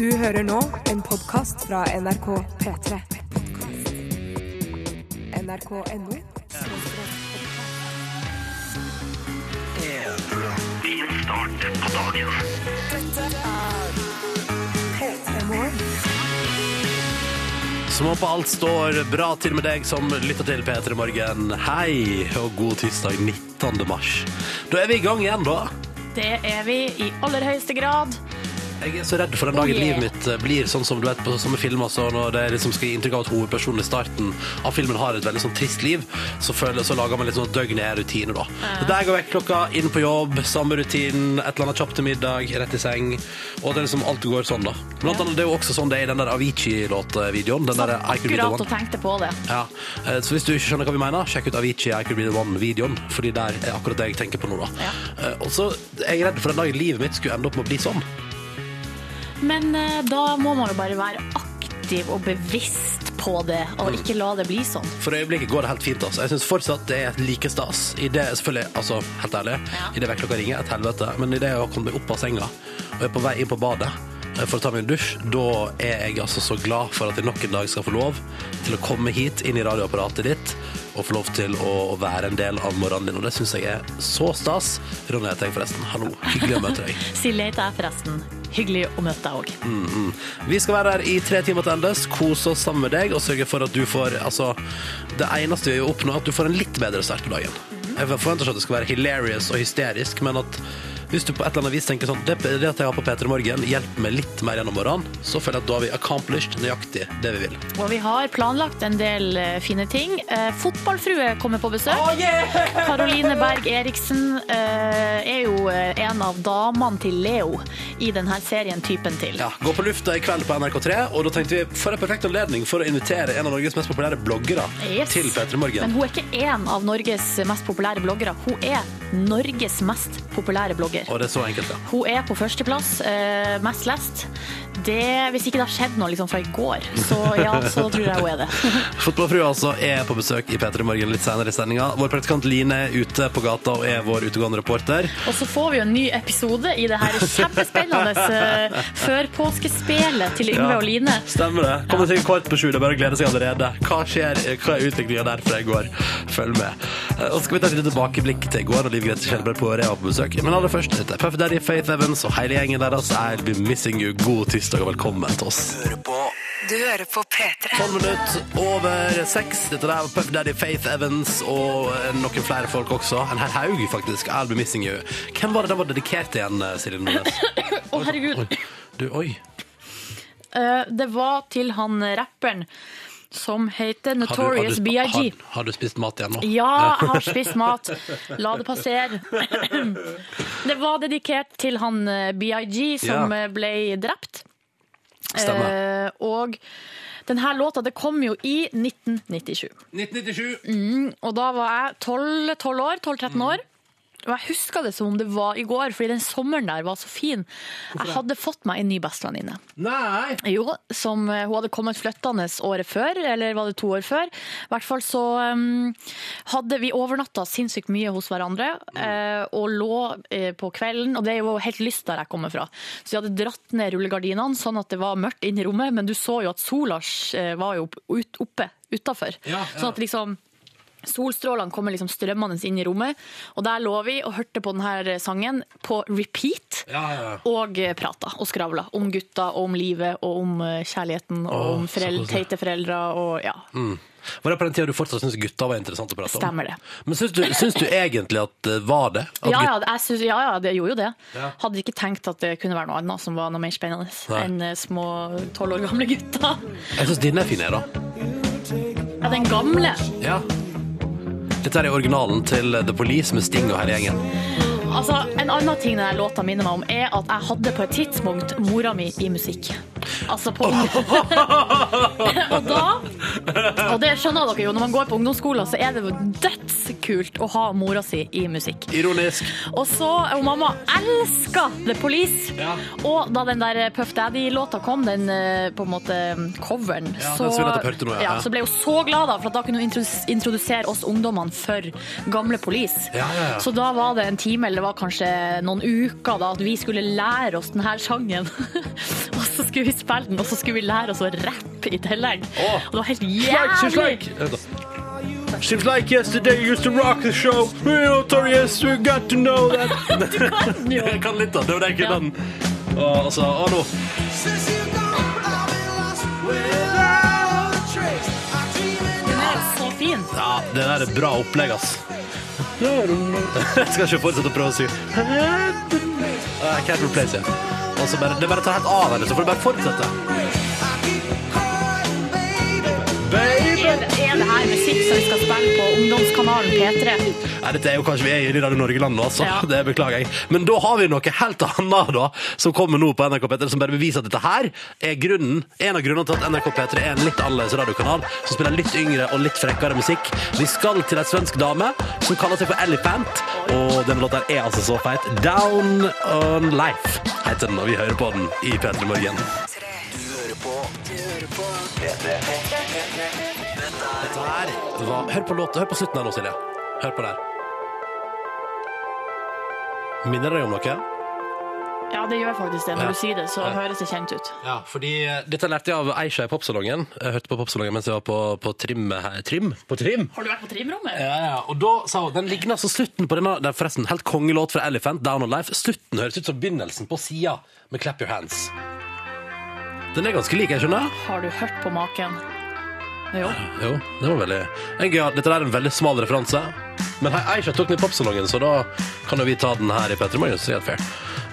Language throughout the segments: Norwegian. Du hører nå en podkast fra NRK P3. NRK.no Som håper alt står bra til med deg som lytter til P3 Morgen. Hei og god tirsdag 19. mars. Da er vi i gang igjen, da. Det er vi i aller høyeste grad. Jeg er så redd for den dagen Oh, yeah. livet mitt eh, blir sånn som du vet på sånne filmer, så når det liksom skal gi inntrykk av at hovedpersonen i starten av filmen har et veldig sånn trist liv, så, føler, så lager man litt sånn døgnet-rutine, da. Så Der går vekkerklokka, inn på jobb, samme rutinen, et eller annet kjapt til middag, rett i seng. Og det er liksom alt går sånn, da. Blant annet, det er jo også sånn det er i den der Avicii-låtvideoen. Den der I Could Be The Akkurat One. og tenkte på det. Ja, eh, så hvis du ikke skjønner hva vi mener, sjekk ut Avicii I Could Be The One-videoen, fordi der er akkurat det jeg tenker på nå, da. Ja. Eh, Og så er jeg redd for den dagen livet mitt skulle ende opp med å bli sånn. Men eh, da må man jo bare være aktiv og bevisst på det, Mm. og ikke la det bli sånn. For øyeblikket går det helt fint, altså. Jeg synes fortsatt det er like stas. I det, selvfølgelig, altså, helt ærlig, Ja. i det vekklokka ringer, et helvete, men i det jeg har kommet meg opp av senga, og er på vei inn på badet, eh, for å ta meg en dusj, da er jeg altså så glad for at jeg nok en dag skal få lov til å komme hit inn i radioapparatet ditt, og få lov til å være en del av morgenen din, og det synes jeg er så stas. Ronny heter jeg forresten. Hallo, hyggelig å møte deg. Silje heter jeg forresten. Hyggelig å møte deg òg. Vi skal være her i tre timer til endes, kose oss sammen med deg og sørge for at du får altså, Det eneste vi vil oppnå, er at du får en litt bedre start på dagen. Jeg forventer ikke at det skal være hilarious og hysterisk, men at hvis du på et eller annet vis tenker sånn Det, det at jeg har på P3 Morgen, hjelper meg litt mer gjennom morgenen, så føler jeg at da har vi accomplished nøyaktig det vi vil. Og vi har planlagt en del eh, fine ting. Eh, Fotballfrue kommer på besøk. Karoline Berg Eriksen eh, er jo eh, en av damene til Leo i denne serien Typen til. Ja, Gå på lufta i kveld på NRK3, og da tenkte vi for en perfekt anledning for å invitere en av Norges mest populære bloggere Yes. til P3 Men Morgen. hun er ikke én av Norges mest populære bloggere. Hun er Norges mest populære blogger. Og det er så enkelt, ja. Hun er på førsteplass, eh, mest lest. Det, hvis ikke det har skjedd noe liksom, fra i går, så ja, så tror jeg hun er det. Fotballfrua altså er på besøk i P3 Morgen litt senere i sendinga. Vår praktikant Line er ute på gata og er vår utegående reporter. Og så får vi jo en ny episode i det her kjempespennende eh, førpåskespelet til Yngve Ja. og Line. Stemmer det. Kommer til kvart på sju. Det er bare å glede seg allerede. Hva skjer? Hva er utviklinga der fra i går? Følg med. Eh, Og så skal vi ta et lite tilbakeblikk til i går, da Liv Grete Skjelberg på Rea var på besøk. Men aller først, dette er Puff Daddy, Faith Evans og hele gjengen deres. I'll be missing you. God tirsdag og velkommen til oss. Du hører på P3. Tolv minutter over seks. Dette der var Puff Daddy, Faith Evans og eh, noen flere folk også. En herr Haug, faktisk. I'll be missing you. Hvem var det den var dedikert til igjen, eh, Silje Nordnes? Å, herregud. Oi. Du, oi. Eh, det var til han rapperen som heter Har du- har du Notorious sp- BIG. Har, har du spist mat igjen nå? Ja, jeg har spist mat. La det passere. Det var dedikert til han eh, BIG som Ja. eh, ble drept. Stemmer. Eh, og denne låta det kom jo i 1997. 1997. Mm. Og da var jeg 12, 12 år, 12-13 Mm. år. Og jeg husker det som om det var i går, fordi den sommeren der var så fin. Jeg hadde fått meg en ny bestevenninne. Nei! Jo, som eh, hun hadde kommet flyttende året før, eller var det to år før. I hvert fall så um, hadde vi overnatta sinnssykt mye hos hverandre, Mm. eh, og lå eh, på kvelden, og det er jo helt lyst der jeg kommer fra. Så vi hadde dratt ned rullegardinene sånn at det var mørkt inne i rommet, men du så jo at sola eh, var jo opp- ut, oppe utafor. Ja, ja. Sånn at liksom Solstrålene kommer liksom strømmende inn i rommet, og der lå vi og hørte på denne sangen på repeat. Ja, ja, ja. Og eh, prata og skravla om gutta og om livet og om eh, kjærligheten og Åh, om forel så koselig. Mm. teite foreldre og ja. Var det på den tida du fortsatt syntes gutta var interessant å prate om? Stemmer det. Men syns du, syns du egentlig at det var det? At Ja, gutt- ja, jeg synes, ja, ja, det gjorde jo det. Ja. Hadde ikke tenkt at det kunne være noe annet som var noe mer spennende Nei. enn eh, små tolv år gamle gutter. Jeg syns denne er fin, jeg, da. Ja, den gamle. Ja. Dette er originalen til The Police med Sting og hele gjengen. Altså, En annen ting denne låta minner meg om, er at jeg hadde på et tidspunkt mora mi i musikk. Altså på Og da Og det skjønner dere jo, når man går på ungdomsskolen, så er det jo dødskult å ha mora si i musikk. Ironisk. Og så og mamma elska The Police. Ja. Og da den der Puff Daddy-låta kom, den eh, på en måte coveren, Ja, den som vi nettopp hørte nå, ja. ja, så ble hun så glad, da, for at da kunne hun introdus- introdusere oss ungdommene for gamle Police. Ja, ja, ja. Så da var det en time, eller det var kanskje noen uker, da, at vi skulle lære oss denne sangen. og så skulle vi spille den, og så skulle vi lære oss å rappe i tillegg. Åh. Og det var helt Like, seems jævlig! like. Vent da. Seems like yesterday you used to rock the show. We notorious, we got to know that. Jeg kan litt, da. Det var den Ja. kunden. Og altså, og nå. Den er så fin. Ja, det der er bra opplegg, ass. Jeg skal ikke fortsette å prøve å si I can't replace you. Og så bare, det er bare å ta helt av henne, så får du bare fortsette. Baby. Er det er det her musikk som vi skal spille på ungdomskanalen P3? Nei, dette er jo kanskje vi er i Radio Norge-land nå, altså. Ja. Det beklager jeg. Men da har vi noe helt annet da, som kommer nå på NRK P3, som bare beviser at dette her er grunnen, en av grunnene til at NRK P3 er en litt annerledes radiokanal, som spiller litt yngre og litt frekkere musikk. Vi skal til ei svensk dame som kaller seg for Elefant, og denne låta er altså så feit. Down on Life heter den, og vi hører på den i P3 Morgen. Dette her var Hør på låta. Hør på slutten her nå, Silje. Hør på der. Minner det deg om noe? Ja, det gjør faktisk det. Når Ja. du sier det, så høres det kjent ut. Ja, fordi eh, Dette lærte jeg av Eisha i popsalongen. Jeg hørte på popsalongen mens jeg var på, på trim, her- trim? På trim? Har du vært på trimrommet? Ja, ja, og da sa hun Den ligner altså slutten på denne Det er forresten helt kongelåt fra Elephant, Down on Life. Slutten høres ut som begynnelsen på sida med Clap Your Hands. Den er ganske lik, jeg skjønner. Har du hørt på maken? Jo. Jo, det var veldig en gøy, Dette er en veldig smal referanse. Men hei, Aisha tok den i popsalongen, så da kan jo vi ta den her i Petter Morgen. Så er det fair.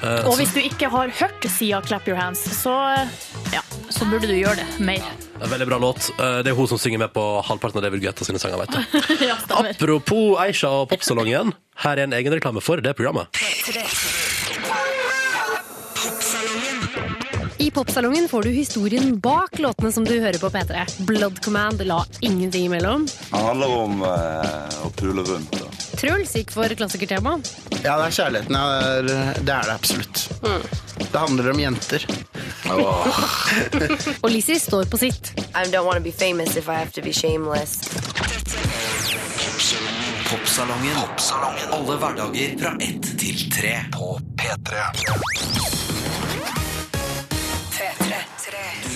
Eh, Og så- hvis du ikke har hørt sida Clap Your Hands, så, ja, så burde du gjøre det mer. en veldig bra låt. Eh, det er hun som synger med på halvparten av David Guetta sine sanger, vet du. ja, stemmer. Apropos Aisha og popsalongen. Her er en egen reklame for det programmet. I popsalongen får du historien bak låtene som du hører på P3. Blood Command la ingenting imellom. Han handler om eh, å pule rundt. Da. Truls gikk for klassikertema. Ja, det er kjærligheten. ja, Det er det, er det absolutt. Det handler om jenter. Og Lizzie står på sitt. I don't want to be famous if I have to be shameless. Popsalongen. Alle hverdager fra 1 til 3 på P3. Du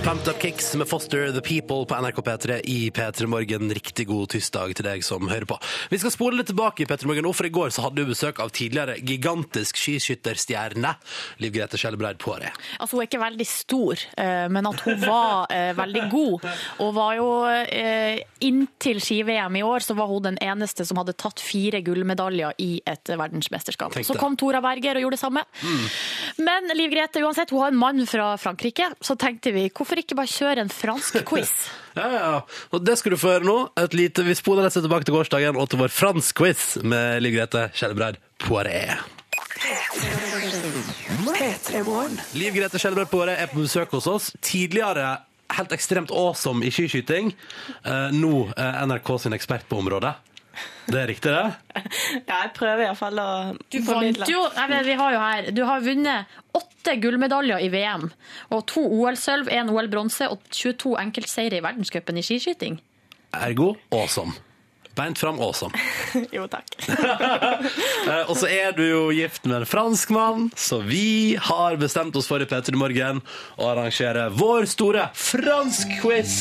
Pumped Up Kicks med Foster The People på NRK P3 i P3 Morgen. Riktig god tirsdag til deg som hører på. Vi skal spole litt tilbake i P3 Morgen nå, for i går så hadde vi besøk av tidligere gigantisk skiskytterstjerne Liv Grete Skjelbreid Poiré. Altså, hun er ikke veldig stor, eh, men at hun var eh, veldig god. Og var jo eh, Inntil ski-VM i år så var hun den eneste som hadde tatt fire gullmedaljer i et eh, verdensmesterskap. Tenk Så det. kom Tora Berger og gjorde det samme. Men Liv Grete, uansett, hun har en mann fra Frankrike, så tenkte vi hvorfor ikke bare kjøre en fransk quiz? Ja, ja, ja. Og det skal du få høre nå. Et lite, vi spoler rett og slett tilbake til gårsdagen og til vår fransk-quiz med Liv Grete Skjelbreid Poiré. Liv Grete Skjelbreid Poiré er på besøk hos oss. Tidligere helt ekstremt awesome i skiskyting. Eh, nå eh, NRK sin ekspert på området. Det er riktig, det? Ja, jeg prøver iallfall å Du vant jo Nei, men vi har jo her Du har vunnet åtte gullmedaljer i VM. Og to OL-sølv, én OL-bronse og 22 enkeltseire i verdenscupen i skiskyting. Ergo awesome. Beint fram awesome. Jo, takk. Eh, Og så er du jo gift med en fransk mann, så vi har bestemt oss for i P3 Morgen å arrangere vår store fransk-quiz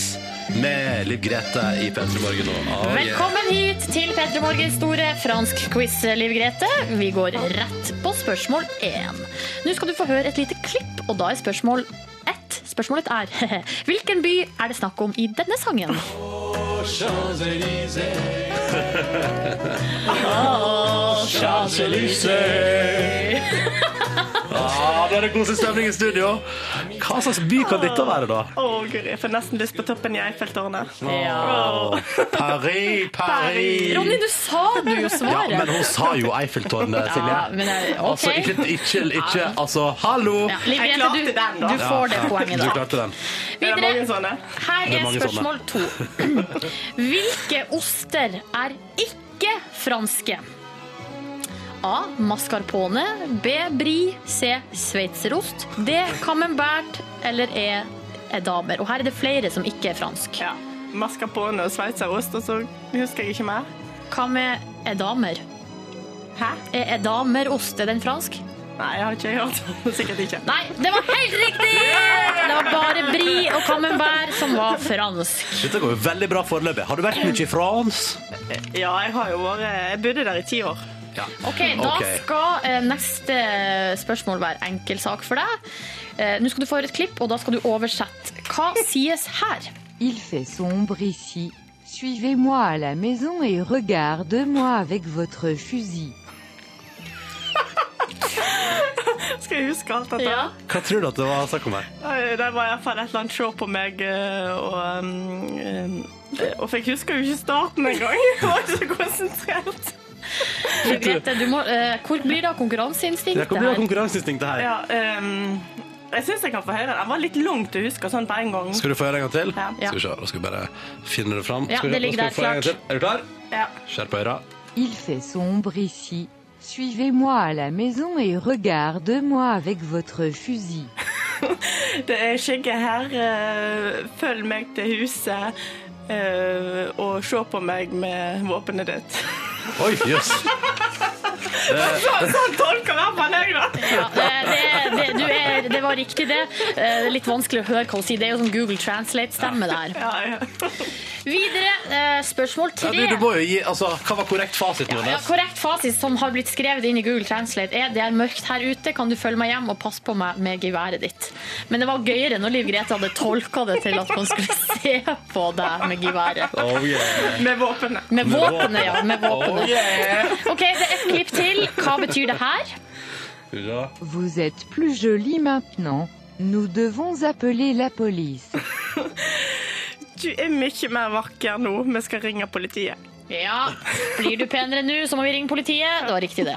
med Liv Grete i P3 Morgen. nå. Oh, yeah. Velkommen hit til Petter Morgens store franskquiz, Liv Grete. Vi går rett på spørsmål én. Nå skal du få høre et lite klipp, og da er spørsmål ett. Spørsmålet er hvilken by er det snakk om i denne sangen? Ah, Koselig stemning i studio. Hva slags by kan dette være, da? Å, guri. Jeg får nesten lyst på toppen i Eiffeltårnet. Paris, Paris. Ronny, du sa du jo Ja, svaret! men hun sa jo Eiffeltårnet, Silje. Ja, men, eh, ok. Altså, ikke, ikke, ikke Altså, hallo! Ja, Liv Jeg Grete, du, klarte den, da. du får det poenget, Du da. klarte den. Er det mange Videre. sånne? Her Det er er mange spørsmål to. Hvilke oster er ikke franske? A. Mascarpone. B. Brie. C. Sveitserost. D. Camembert. Eller E. Edamer. Og her er det flere som ikke er fransk. Ja. Mascarpone og sveitserost, og så husker jeg ikke mer. Hva med edamer? Hæ? Er edamerost er den fransk? Nei, jeg har ikke hørt. Sikkert ikke. Nei, det var helt riktig! Det var bare Brie og Camembert som var fransk. Dette går jo veldig bra foreløpig. Har du vært mye i France? Ja, jeg har jo vært Jeg bodde der i ti år. Ok, Da Ok. skal eh, neste spørsmål være enkeltsak for deg. Eh, Nå skal du få høre et klipp, og da skal du oversette. Hva sies her? Il fait sombre ici. Suivez-moi à la maison et regarde-moi avec votre fusil. Skal jeg huske alt dette? Hva tror du at det var snakk om her? Nei, Det var i hvert fall et eller annet se på meg, eh, og, um, eh, og for jeg husker jo ikke starten engang. Jeg var ikke så konsentrert. Liv Grete, du må, eh, hvor blir det av Det kommer konkurranseinstinktet til å her? være konkurranseinstinktet her. Ja, um, jeg syns jeg kan få høre det. Den var litt langt å huske sånn på en gang. Skal du få høre en gang til? Ja. Skal vi se, da skal vi bare finne det fram. Ja, Skal vi- det ligger da skal vi få høre der, en gang til. Er du klar? Ja. Skjerp øra. Il fait sombre ici. Suivez-moi à la maison et regarde-moi avec votre fusil. Det er skygge her. eh, Følg meg til huset. eh, og se på meg med våpenet ditt. Oi, jøss. Sånn sånn tolker i hvert fall jeg, da. Ja, eh, det, det, du er, det var riktig, det. Eh, Det er litt vanskelig å høre hva hun sier. Det er jo sånn Google Translate-stemme, det her. Ja, ja. Videre, eh, spørsmål Ja, tre. du, du må jo gi Altså, hva var korrekt fasit, Ja, Nordnes? korrekt fasit som har blitt skrevet inn i Google Translate er det er mørkt her ute, kan du følge meg hjem og passe på meg med geværet ditt. Men det var gøyere når Liv Grete hadde tolka det til at man skulle se på deg med geværet. Oh, yeah. Med våpenet. Med våpenet, ja. Med Oh, våpenet. yeah. OK, det er ett klipp til. Hva betyr det her? Skal vi se. Vous êtes plus jolie maintenant. Nous devons appeler la police. Du er mye mer vakker nå. Vi skal ringe politiet. Ja, blir du penere nå, så må vi ringe politiet. Det var riktig, det.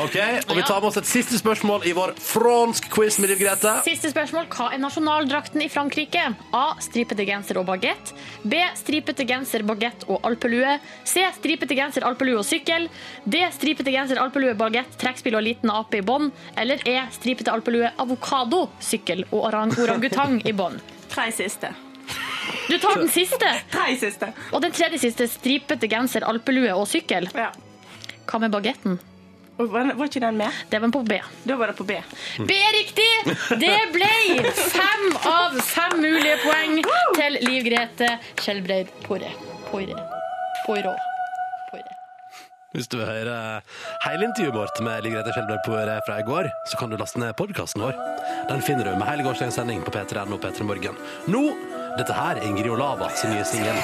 Ok, og vi tar med oss et siste spørsmål i vår fransk quiz med Liv Grete. Siste spørsmål. Hva er nasjonaldrakten i Frankrike? A. Stripete genser og bagett. B. Stripete genser, bagett og alpelue. C. Stripete genser, alpelue og sykkel. D. Stripete genser, alpelue, bagett, trekkspill og liten ape i bånd. Eller E. Stripete alpelue, avokado, sykkel og orang orangutang i bånd. Tre siste. Du tar den siste, Tre siste. og den tredje siste. Stripete genser, alpelue og sykkel. Ja. Hva med bagetten? Og Var var ikke den med? Det var på B. Da var det på B. B er riktig! Det ble fem av fem mulige poeng til Liv Grete Skjelbreid Poire. Poire. Poirot. Poire. Hvis du vil høre hele intervjuet vårt med Liv Grete Skjelberg på Øret fra i går, så kan du laste ned podkasten vår. Den finner du med hele gårsdagens sending på p3.no og P3 Morgen. Nå, dette her er Ingrid Olava sin nye singel.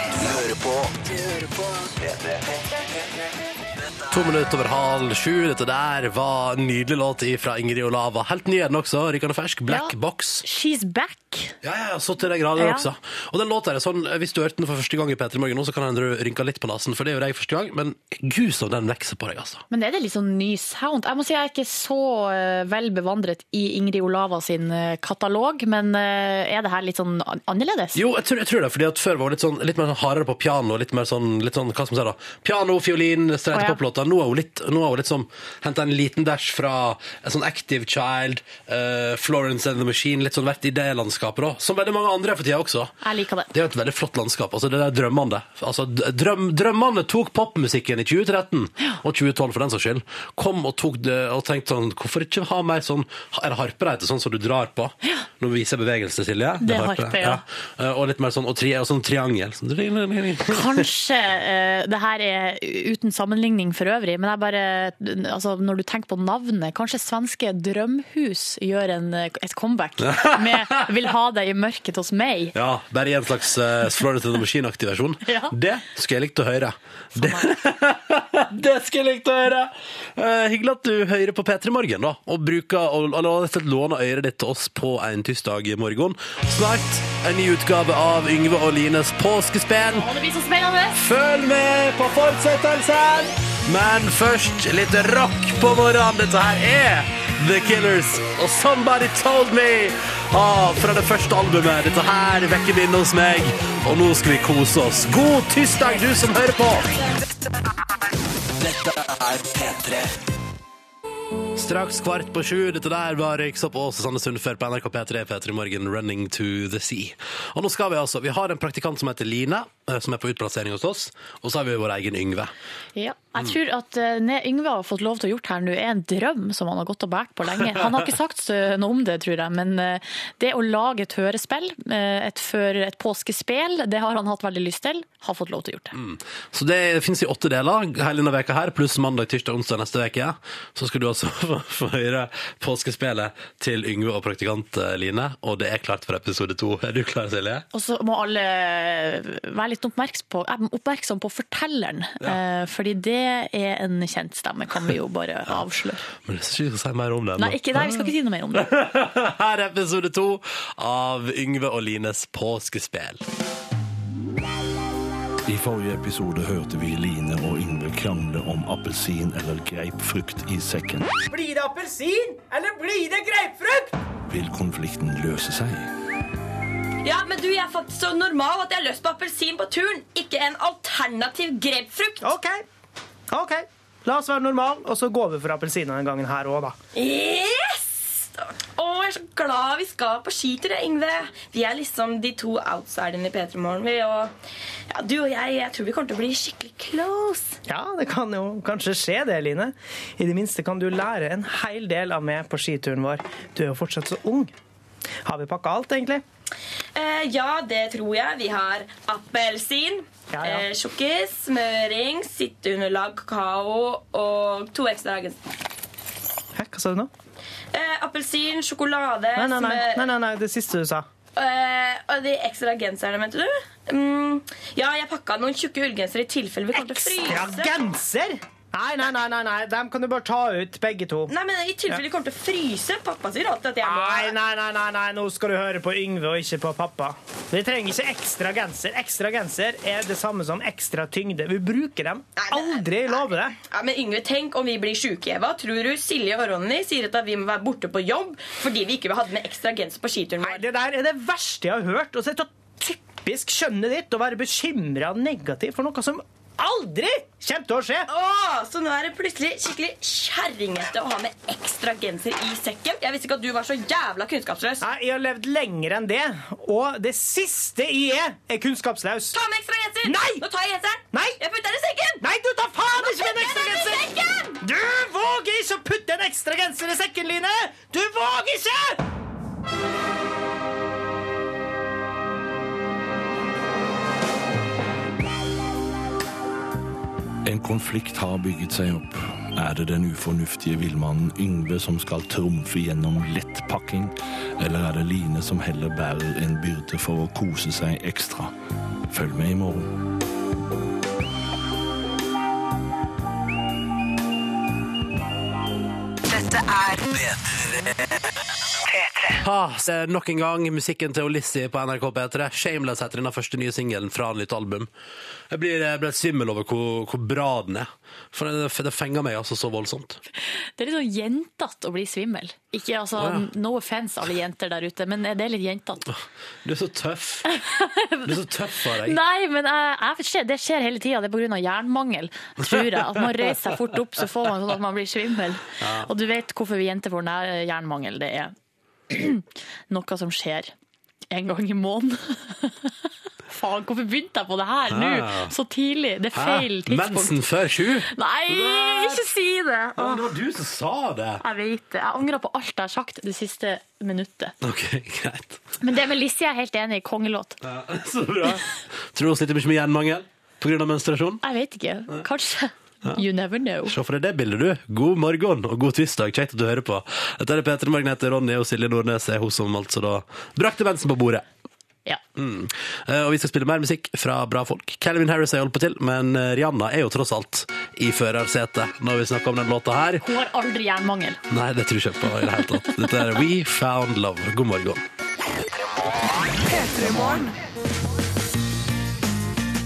To minutter over halv sju. Dette der var en nydelig låt fra Ingrid Olava. Helt ny er den også. Rikende fersk. Black Ja. Box. She's back. Ja, ja, ja, så til de grader Ja. også. Og den låta er sånn, hvis du hørte den for første gang i P3 Morgen nå, så kan det hende du rynka litt på nesen, for det gjorde jeg første gang, men gud som den vokser på deg, altså. Men er det litt sånn ny sound? Jeg må si jeg er ikke så eh, vel bevandret i Ingrid Olava sin eh, katalog, men eh, er det her litt sånn an- annerledes? Jo, jeg tror, jeg tror det, fordi at før var hun litt, sånn, litt mer sånn hardere på piano, litt mer sånn, litt sånn hva skal man si da, piano, fiolin, streit Å, ja. poplåter. Nå er hun litt, nå er hun litt sånn, hentet en liten dash fra en sånn Active Child, eh, Florence and the Machine, litt sånn vært i det landskapet da, som veldig mange andre for tida også. Jeg liker det. Det er jo et veldig flott landskap. altså Det der drømmene. Altså, d- drøm, drømmene tok popmusikken i 2013, og 2012 for den saks skyld. Kom og tok det og tenkte sånn Hvorfor ikke ha mer sånn Er det harpe det heter? Sånn som du drar på? Nå viser jeg bevegelse, Silje. Det er harpe, ja. Eh, Og litt mer sånn, og tri, og sånn triangel. Sånn, dring, dring, dring, dring. Kanskje eh, det her er uten sammenligning for øvrig, men jeg bare, altså, når du tenker på navnet Kanskje svenske Drømhus gjør en, eh, et comeback med 'Vil ha deg i mørket hos meg'. Ja, bare i en slags uh, Florida to the Machine-aktig versjon. Ja. Det skulle jeg likt å høre. Det, det skulle jeg likt å høre! Eh, hyggelig at du hører på P3 Morgen, da. Og bruker, og, eller rett og slett låner øret ditt til oss på en tirsdag i morgen. Snart en ny utgave av Yngve og Lines påskespenn. Å, det blir så spennende! Følg med på fortsettelsen! Men først litt rock på morgenen. Dette her er The Killers og Somebody Told Me. Ah, fra det første albumet. Dette her vekker minnet hos meg. Og nå skal vi kose oss. God tirsdag, du som hører på! Dette er P3. Straks kvart på sju. Dette der var Røyksopp og Susanne Sundfør på NRK P3 P3 Morgen Running to the Sea. Og nå skal vi altså Vi har en praktikant som heter Line, eh, som er på utplassering hos oss. Og så har vi vår egen Yngve. Ja, jeg tror at eh, det Yngve har fått lov til å gjort her nå, er en drøm som han har gått og båret på lenge. Han har ikke sagt eh, noe om det, tror jeg, men eh, det å lage et hørespill, eh, et, før, et påskespel, det har han hatt veldig lyst til. Har fått lov til å gjort det. Så det finnes i åtte deler hele denne veka her, pluss mandag, tirsdag, onsdag neste veke. Så skal du altså få, få høre påskespillet til Yngve og praktikant eh, Line, og det er klart for episode to. Er du klar, Silje? Og så må alle være litt oppmerksom på, eh, oppmerksom på fortelleren, eh, fordi det er en kjent stemme, kan vi jo bare avsløre. Men jeg synes ikke vi skal si mer om det Nei, ikke, nei, vi skal ikke si noe mer om det. Her er episode to av Yngve og Lines påskespill. I forrige episode hørte vi Line og Yngve krangle om appelsin eller greipfrukt i sekken. Blir det appelsin, eller blir det grapefrukt? Vil konflikten løse seg? Ja, men du, Jeg er faktisk så normal at jeg har lyst på appelsin på turen, ikke en alternativ grapefrukt. Ok, ok. La oss være normal, og så går vi for appelsin denne gangen her òg, da. Yes! Å, jeg er så glad vi skal på skitur, jeg, Yngve. Vi er liksom de to outsiderne i P3 Morgen. vi, Og ja, du og jeg, jeg tror vi kommer til å bli skikkelig close. Ja, det kan jo kanskje skje det, Line. I det minste kan du lære en hel del av meg på skituren vår. Du er jo fortsatt så ung. Har vi pakka alt, egentlig? Eh, ja, det tror jeg. Vi har appelsin, Ja, ja. eh, sjokkis, smøring, sitteunderlag, kakao og to ekstra dager. Hæ, hva sa du nå? Eh, appelsin, sjokolade Nei, nei, nei, smør- nei, nei, nei det siste du sa. Eh, og de ekstra genserne, mente du? Mm, ja, jeg pakka noen tjukke ullgensere i tilfelle vi kommer til å fryse. Ja, genser! Nei, nei, nei, nei, nei, dem kan du bare ta ut, begge to. Nei, men I tilfelle vi kommer til å fryse. Pappa sier alltid at jeg må Nei, nei, nei, nei, nei, nå skal du høre på Yngve og ikke på pappa. Vi trenger ikke ekstra genser. Ekstra genser er det samme som ekstra tyngde. Vi bruker dem aldri, lover det. Ja, men Yngve, tenk om vi blir syke, Eva. Tror du Silje og Ronny sier at vi må være borte på jobb fordi vi ikke hadde med ekstra genser på skituren vår? Det der er det verste jeg har hørt. Og så er det så typisk skjønnet ditt å være bekymra og negativ for noe som aldri kommer til å skje. Åh, så nå er det plutselig skikkelig kjerringete å ha med ekstra genser i sekken. Jeg visste ikke at du var så jævla kunnskapsløs. Nei, jeg har levd lenger enn det, og det siste jeg er, er kunnskapslaus. Ta med ekstra genser! Nei! Nå tar jeg genseren! Nei! Jeg putter den i sekken! Nei, du tar faen Nå ikke med en putter ekstra jeg den i genser! sekken! Du våger ikke å putte en ekstra genser i sekken, Line! Du våger ikke! En konflikt har bygget seg opp. Er det den ufornuftige villmannen Yngve som skal trumfe gjennom lettpakking, eller er det Line som heller bærer en byrde for å kose seg ekstra? Følg med i morgen. Dette er Ah, så er det nok en gang musikken til Olissi på NRK P3. 'Shameless' heter den første nye singelen fra en nytt album. Jeg blir, jeg blir svimmel over hvor, hvor bra den er. For det, det fenger meg altså så voldsomt. Det er litt sånn jentete å bli svimmel. Ikke, altså, Å, ja. No offense alle jenter der ute, men det er litt jentete. Du er så tøff. Du er så tøff av deg. Nei, men jeg, jeg, skjer- det skjer hele tida. Det er pga. jernmangel, tror jeg. At man reiser seg fort opp, så får man sånn at man blir svimmel. Ja. Og du vet hvorfor vi jenter får nær- jernmangel. Det er noe som skjer en gang i måneden. faen, hvorfor begynte jeg på det her nå? Ah. Så tidlig. Det er feil Hæ? tidspunkt. Mensen før sju? Nei, ikke si det! Ja, men det var du som sa det. Jeg vet det. Jeg angrer på alt jeg har sagt det siste minuttet. OK, greit. Men det med Lissi er jeg helt enig i. Kongelåt. Ja, så bra. Tror du hun sliter mye med jernmangel pga. menstruasjon? Jeg vet ikke. Kanskje. You never know. Se for deg det bildet, du. God morgen og god tirsdag. Kjekt at du hører på. Dette er P3 Morgen. Jeg heter Ronny, og Silje Nordnes er hun som altså da brakte mensen på bordet. Ja. Mm. Eh, Og vi skal spille mer musikk fra bra folk. Calvin Harris har jeg holdt på til, men eh, Rihanna er jo tross alt i førersetet når vi snakker om den låta her. Hun har aldri jernmangel. Nei, det tror jeg ikke på i det hele tatt. Dette er We Found Love. God morgen. P3-morgen.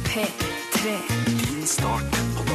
P3. Din start på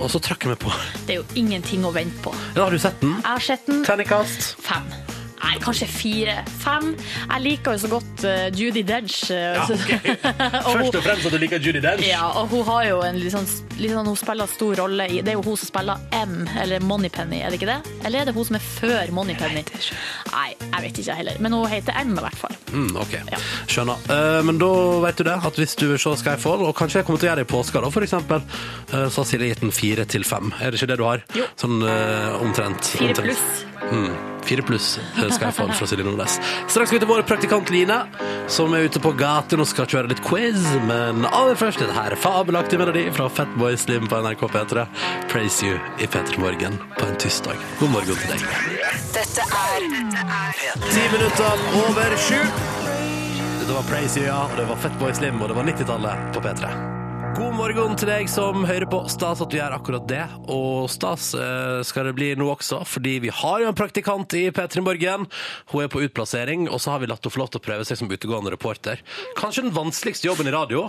og så trakk jeg meg på. Det er jo ingenting å vente på. Ja, har du sett den? Jeg har sett den. Terningkast? Fem. Nei, kanskje fire. Fem. Jeg liker jo så godt eh, Judi Dench. eh, Ja, så- ok. og hun- Først og fremst at du liker Judy Dench. ja, og hun har jo en litt sånn, litt sånn Hun spiller stor rolle i Det er jo hun som spiller M, eller Moneypenny, er det ikke det? Eller er det hun som er før Moneypenny? Nei, jeg vet ikke jeg heller. Men hun heter M, i hvert fall. Mm, ok, skjønner. Eh, men da vet du det, at hvis du vil se Skyfall, og kanskje jeg kommer til å gjøre det i påska da, for eksempel, eh, så har Silje gitt den fire til fem. Er det ikke det du har? Jo. Sånn eh, omtrent. Fire omtrent. pluss. Mm, fire pluss eh, Skyfall fra Silje Nordnes. Straks skal vi til vår praktikant Line, som er ute på gaten og skal kjøre litt quiz, men aller først dette her fabelaktig melodi fra Fatboy Slim på NRK P3. Praise you i P3 Morgen på en tirsdag. God morgen til deg. Dette er Ti minutter over sju. Dette var Praise You, ja, og det var Fatboy Slim, og det var 90-tallet på P3. God morgen til deg som hører på. Stas at du gjør akkurat det. Og stas eh, skal det bli nå også, fordi vi har jo en praktikant i P3 Morgen. Hun er på utplassering, og så har vi latt henne få lov til å prøve seg som utegående reporter. Kanskje den vanskeligste jobben i radio.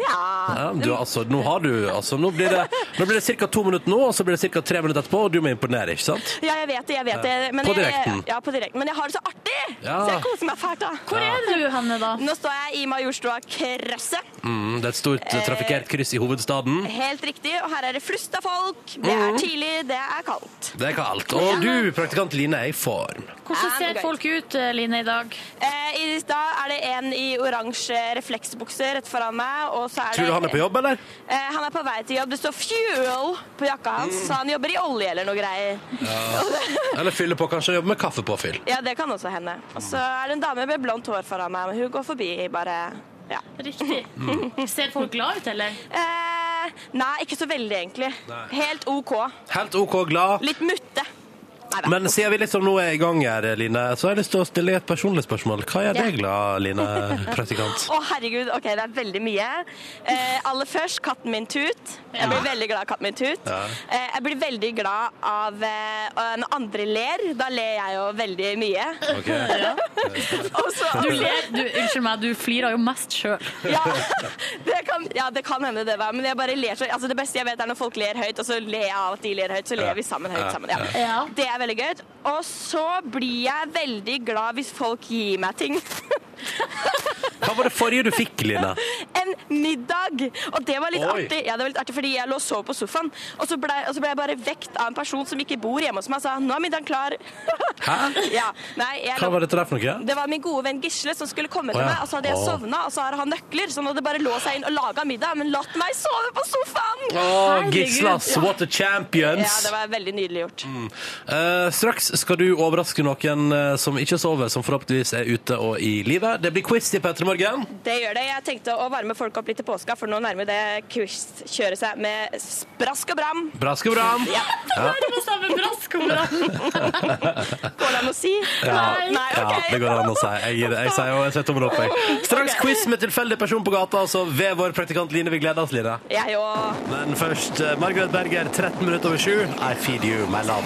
Ja, du, altså, nå har du altså, Nå blir det, nå blir det ca. to minutter nå, og så blir det ca. tre minutter etterpå, og du må imponere, ikke sant? Ja, jeg vet det. jeg vet det. På jeg, direkten. ja, på direkten. Men jeg har det så artig! Ja. Så jeg koser meg fælt. da. Hvor er du, Hanne, da? Nå står jeg i Majorstua-krysset. Mm, det er et stort eh, trafikkert kryss i hovedstaden. Helt riktig. Og her er det flust av folk. Det Mm. er tidlig, det er kaldt. Det er kaldt. Og du, praktikant Line, er i form. Hvordan ser folk ut, Line, i dag? Eh, I stad er det en i oransje refleksbukse rett foran meg. Og så er Tror du det, han er på jobb, eller? Eh, han er på vei til jobb. Det står 'fuel' på jakka hans, Mm. så han jobber i olje eller noe greier. Eller fyller på, kanskje. Jobber med kaffepåfyll. Ja, det kan også hende. Og så er det en dame med blondt hår foran meg, men hun går forbi bare ja. Riktig. Mm. Ser folk glad ut, eller? Eh, nei, ikke så veldig, egentlig. Nei. Helt OK. Helt OK glad. Litt mutte. Men siden vi liksom nå er i gang her, Line, så har jeg lyst til å stille deg et personlig spørsmål. Hva gjør Ja. deg glad, Line, praktikant? Å, herregud. Ok, det er veldig mye. Eh, aller først katten min Tut. Jeg blir veldig glad av katten min Tut. Ja. Eh, jeg blir veldig glad av eh, når andre ler. Da ler jeg jo veldig mye. Ok. Ja. Og så- Du ler, du, unnskyld meg, du flirer jo mest sjøl. Ja, det kan, ja, det kan hende det var Men jeg bare ler så altså, Det beste jeg vet er når folk ler høyt, og så ler jeg av at de ler høyt. Så Ja. ler vi sammen høyt Ja. sammen. Ja. Ja. Det er veldig gøy. Og så blir jeg veldig glad hvis folk gir meg ting. Hva var det forrige du fikk, Line? En middag! Og det var litt Oi. artig. Ja, det var litt artig fordi jeg lå og sov på sofaen, og så ble, og så ble jeg bare vekt av en person som ikke bor hjemme hos meg, og sa 'nå er middagen klar'. Hæ? Ja, nei, jeg Hva var dette der for noe? det var min gode venn Gisle som skulle komme Å, til ja. meg, og så hadde jeg Å. sovna, og så har han nøkler, så han hadde bare låst seg inn og laga middag, men latt meg sove på sofaen! Å, Herregud. Gislas, Ja. what a champions! Ja, det var veldig nydelig gjort. Mm. Eh, straks skal du overraske noen eh, som ikke sover, som forhåpentligvis er ute og i livet. Det blir quiz til Petter i morgen. Det gjør det. Jeg tenkte å varme folk opp litt til påska, for nå nærmer det quiz-kjøret seg med sprask og bram. Brask og bram. Ja. Ja. brask og bram. Går det an å si? Ja, Nei, ok. ja, det går an å si. Jeg gir det. Jeg sier og jeg setter tommel opp. Jeg. Straks quiz med tilfeldig person på gata, altså ved vår praktikant Line. Vi gleder oss, Line. Jeg òg. Men først eh, Margaret Berger, 13 minutter over sju. I feed you, my love.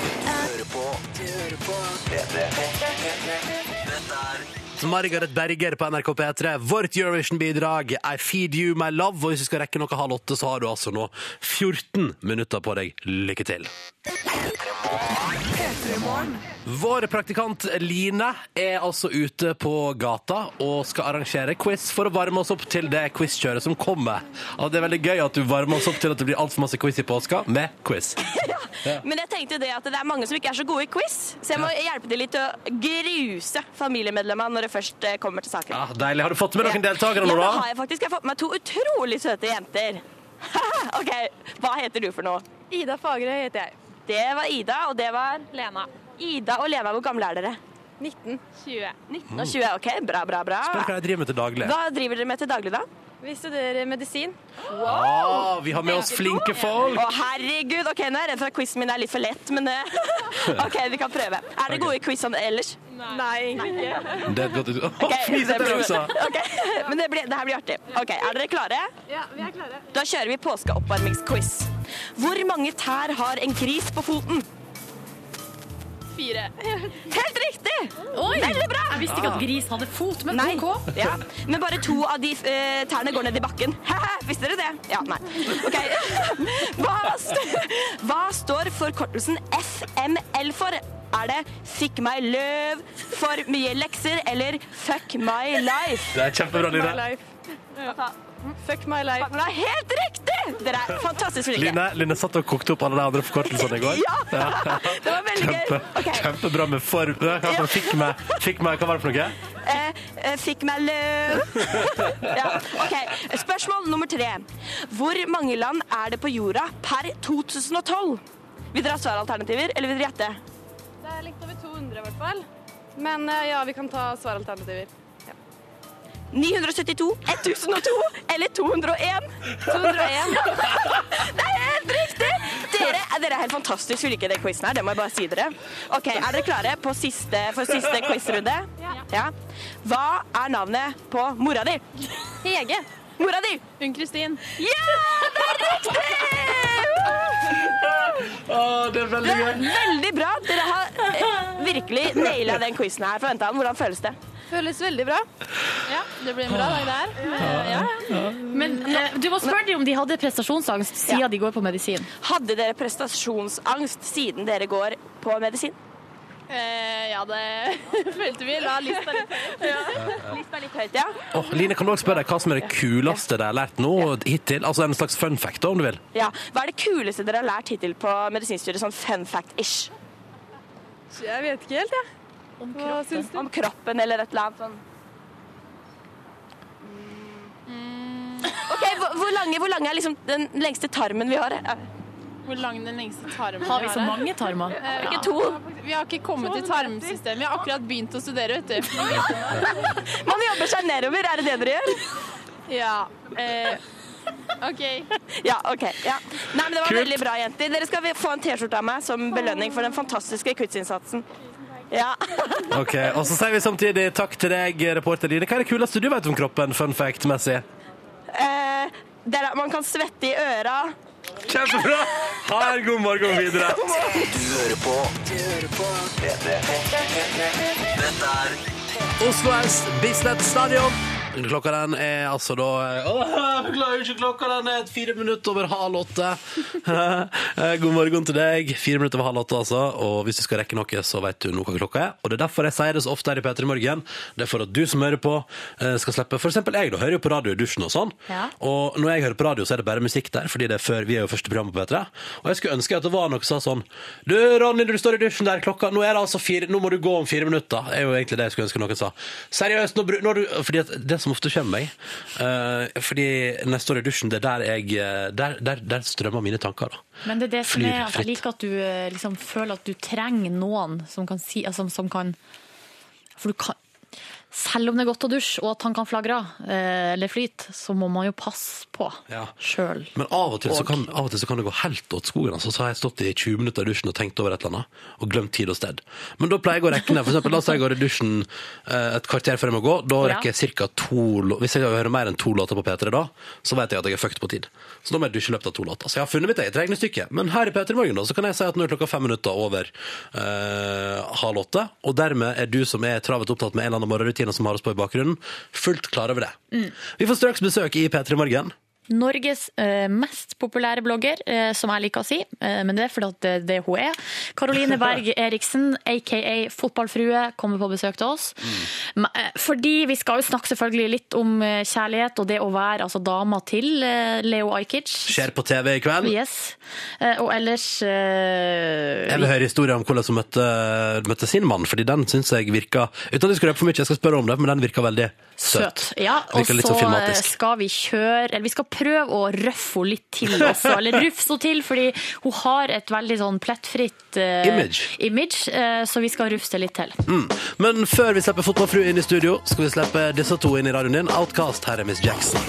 Margaret Berger på NRK P3. Vårt Eurovision-bidrag I feed you my love. Og hvis vi skal rekke noe halv åtte, så har du altså nå 14 minutter på deg. Lykke til. Vår praktikant Line er altså ute på gata og skal arrangere quiz for å varme oss opp til det quizkjøret som kommer. Og det er veldig gøy at du varmer oss opp til at det blir altfor masse quiz i påska med quiz. Ja. Men jeg tenkte det at det er mange som ikke er så gode i quiz, så jeg må hjelpe til litt til å gruse familiemedlemmene når det først eh, kommer til saken. Ah, Deilig. Har du fått med noen deltakere nå, Ja, det da? har jeg faktisk. Jeg har fått med meg to utrolig søte jenter. ok, hva heter du for noe? Ida Fagerøy heter jeg. Det var Ida, og det var Lena. Ida og Lena, hvor gamle er dere? 19. 20. 19 og 20, ok. Bra, bra, bra. Mm. Spør hva jeg driver med til daglig. Hva driver dere med til daglig, da? Vi studerer medisin. Wow! Ah, vi har med oss flinke folk. Å, herregud. Ok, nå er jeg redd for at quizen min er litt for lett, men eh, OK, vi kan prøve. Er dere gode i quiz sånn ellers? Nei, egentlig ikke. Det er et godt uttrykk. Ok, Flis det etter blir- det også. Ok, Men det, blir, det her blir artig. Ok, Er dere klare? Ja, vi er klare. Da kjører vi påskeoppvarmingsquiz. Hvor mange tær har en gris på foten? Fire. Helt riktig! Oi! Veldig bra! Jeg visste Ah. ikke at gris hadde fot, men Nei. OK. Ja. Men bare to av de eh, tærne går ned i bakken. Visste dere det? Ja, nei. Ok. Hva, st Hva står forkortelsen FML for? Er det 'fikk meg løv', 'for mye lekser' eller 'fuck my life'? Det er kjempebra, Line. Fuck my life. Det er helt riktig! Dere er fantastisk flinke. Line, Line satt og kokte opp alle de andre forkortelsene i går. Ja, det var veldig gøy. Ok. Kjempebra med form. Hva fikk meg, fikk meg, hva var det for noe? Eh, eh, fikk meg løv. ja, ok. Spørsmål nummer tre. Hvor mange land er det på jorda per 2012? Vil dere ha svaralternativer, eller vil dere gjette? Det er litt over 200 i hvert fall. Men eh, ja, vi kan ta svaralternativer. 972, 1002 eller 201? 201. det er helt riktig! Dere, dere er helt fantastisk flinke i den quizen her, det må jeg bare si dere. Ok, Er dere klare på siste, for siste quizrunde? Ja. ja. Hva er navnet på mora di? Hege. Mora di? Hun Kristin. Ja, det er riktig! det er veldig gøy. Veldig bra. Dere har eh, virkelig naila den quizen her. Forventa han. Hvordan føles det? Føles veldig bra. Ja, det blir en bra dag der. Ja, ja. Men eh, du må spørre dem om de hadde prestasjonsangst siden de går på medisin. Hadde dere prestasjonsangst siden dere går på medisin? Eh, ja, det følte vi. La lista litt høyt. Lista litt høyt, ja. Åh, Line, kan du også spørre deg hva som er det kuleste dere har lært nå hittil? Altså en slags fun fact, da, om du vil. ja. Hva er det kuleste dere har lært hittil på medisinstudiet? Sånn fun fact-ish. Jeg vet ikke helt, jeg. Hva syns du? Om kroppen eller et eller annet sånn. OK, hvor, hvor, lange, hvor lange er liksom den lengste tarmen vi har? Hvor lang den lengste tarmen Har vi er, så da? mange tarmer? Eh, vi har Ja. ikke to. Vi har ikke kommet til tarmsystemet. Vi har akkurat begynt å studere, vet du. Man jobber seg nedover, er det det dere gjør? Ja. Eh, OK. Ja, ok. Ja. Nei, men Det var Kult. veldig bra, jenter. Dere skal få en T-skjorte av meg som belønning for den fantastiske kuttinnsatsen. Ja. Ok, Og så sier vi samtidig takk til deg, reporter Line. Hva er det kuleste du vet om kroppen, fun fact-messig? Eh, der, er- man kan svette i øra. Kjempebra! Ha en god morgen videre. Du hører på P3. Dette er Oslo S Bislett Stadion. Klokka den er altså da Åh, jeg klarer ikke klokka, den er et fire minutter over halv åtte. Eh, God morgen til deg. Fire minutter over halv åtte, altså. Og hvis du skal rekke noe, så vet du nå hva klokka er. Og det er derfor jeg sier det så ofte her i P3 Morgen. Det er for at du som hører på, eh, skal slippe For eksempel jeg, da. Hører jo på radio i dusjen og sånn. Ja. Og når jeg hører på radio, så er det bare musikk der, fordi det er før, vi er jo første program på P3. Og jeg skulle ønske at det var noe som sa sånn Du, Ronny, du står i dusjen der, klokka Nå er det altså fire, nå må du gå om fire minutter. Det er jo egentlig det jeg skulle ønske noen sa. Seriøst, nå, bru- nå har du Fordi at det som ofte kommer meg eh, Fordi når jeg står i dusjen, det er der jeg eh, Der, der, der strømmer mine tanker, da. Men det er det som Flyr er at jeg fritt. liker at du eh, liksom føler at du trenger noen som kan si altså, som kan, For du kan Selv om det er godt å dusje, og at han kan flagre eh, eller flyte, så må man jo passe på. Ja. Sjøl. Men av og, til så Og- kan, av og til så kan det gå helt åt skogen. Altså, så har jeg stått i 20 minutter i dusjen og tenkt over et eller annet, og glemt tid og sted. Men da pleier jeg å rekke ned. For eksempel, la oss si jeg går i dusjen eh, et kvarter før jeg må gå. Da Ja. rekker jeg cirka to lå- Hvis jeg hører mer enn to låter på P3 da, så vet jeg at jeg er fucked på tid. Så da må jeg dusje i løpet av to låter. Så jeg har funnet mitt eget regnestykke. Men her i P3 Morgen da, så kan jeg si at nå er klokka fem minutter over eh, halv åtte, og dermed er du som er travet opptatt med en eller annen morgenrutine som har oss på i bakgrunnen, fullt klar over det. Mm. Vi får straks besøk i P3 Morgen. Norges eh, mest populære blogger, eh, som jeg liker å si, eh, men det er fordi at det, det er hun er. Karoline Berg Eriksen, aka Fotballfrue, kommer på besøk til oss. Mm. Men, eh, Fordi vi skal jo snakke selvfølgelig litt om eh, kjærlighet og det å være altså, dama til eh, Leo Ajkic. Skjer på TV i kveld. Yes. Eh, Og ellers eh, Jeg vil høre historien om hvordan hun møtte, møtte sin mann, fordi den synes jeg virka Uten at jeg skal røpe for mye, jeg skal spørre om det, men den virka veldig søt. Ja, og virka litt så sånn eh, filmatisk. skal vi kjøre Eller vi skal prøve å røffe henne litt til også, eller rufse henne til, fordi hun har et veldig sånn plettfritt eh, Image. image, eh, så vi skal rufse det litt til. Mm. Men før vi slipper Fotballfru inn i studio, skal vi slippe disse to inn i radioen din. Outcast, her er Miss Jackson.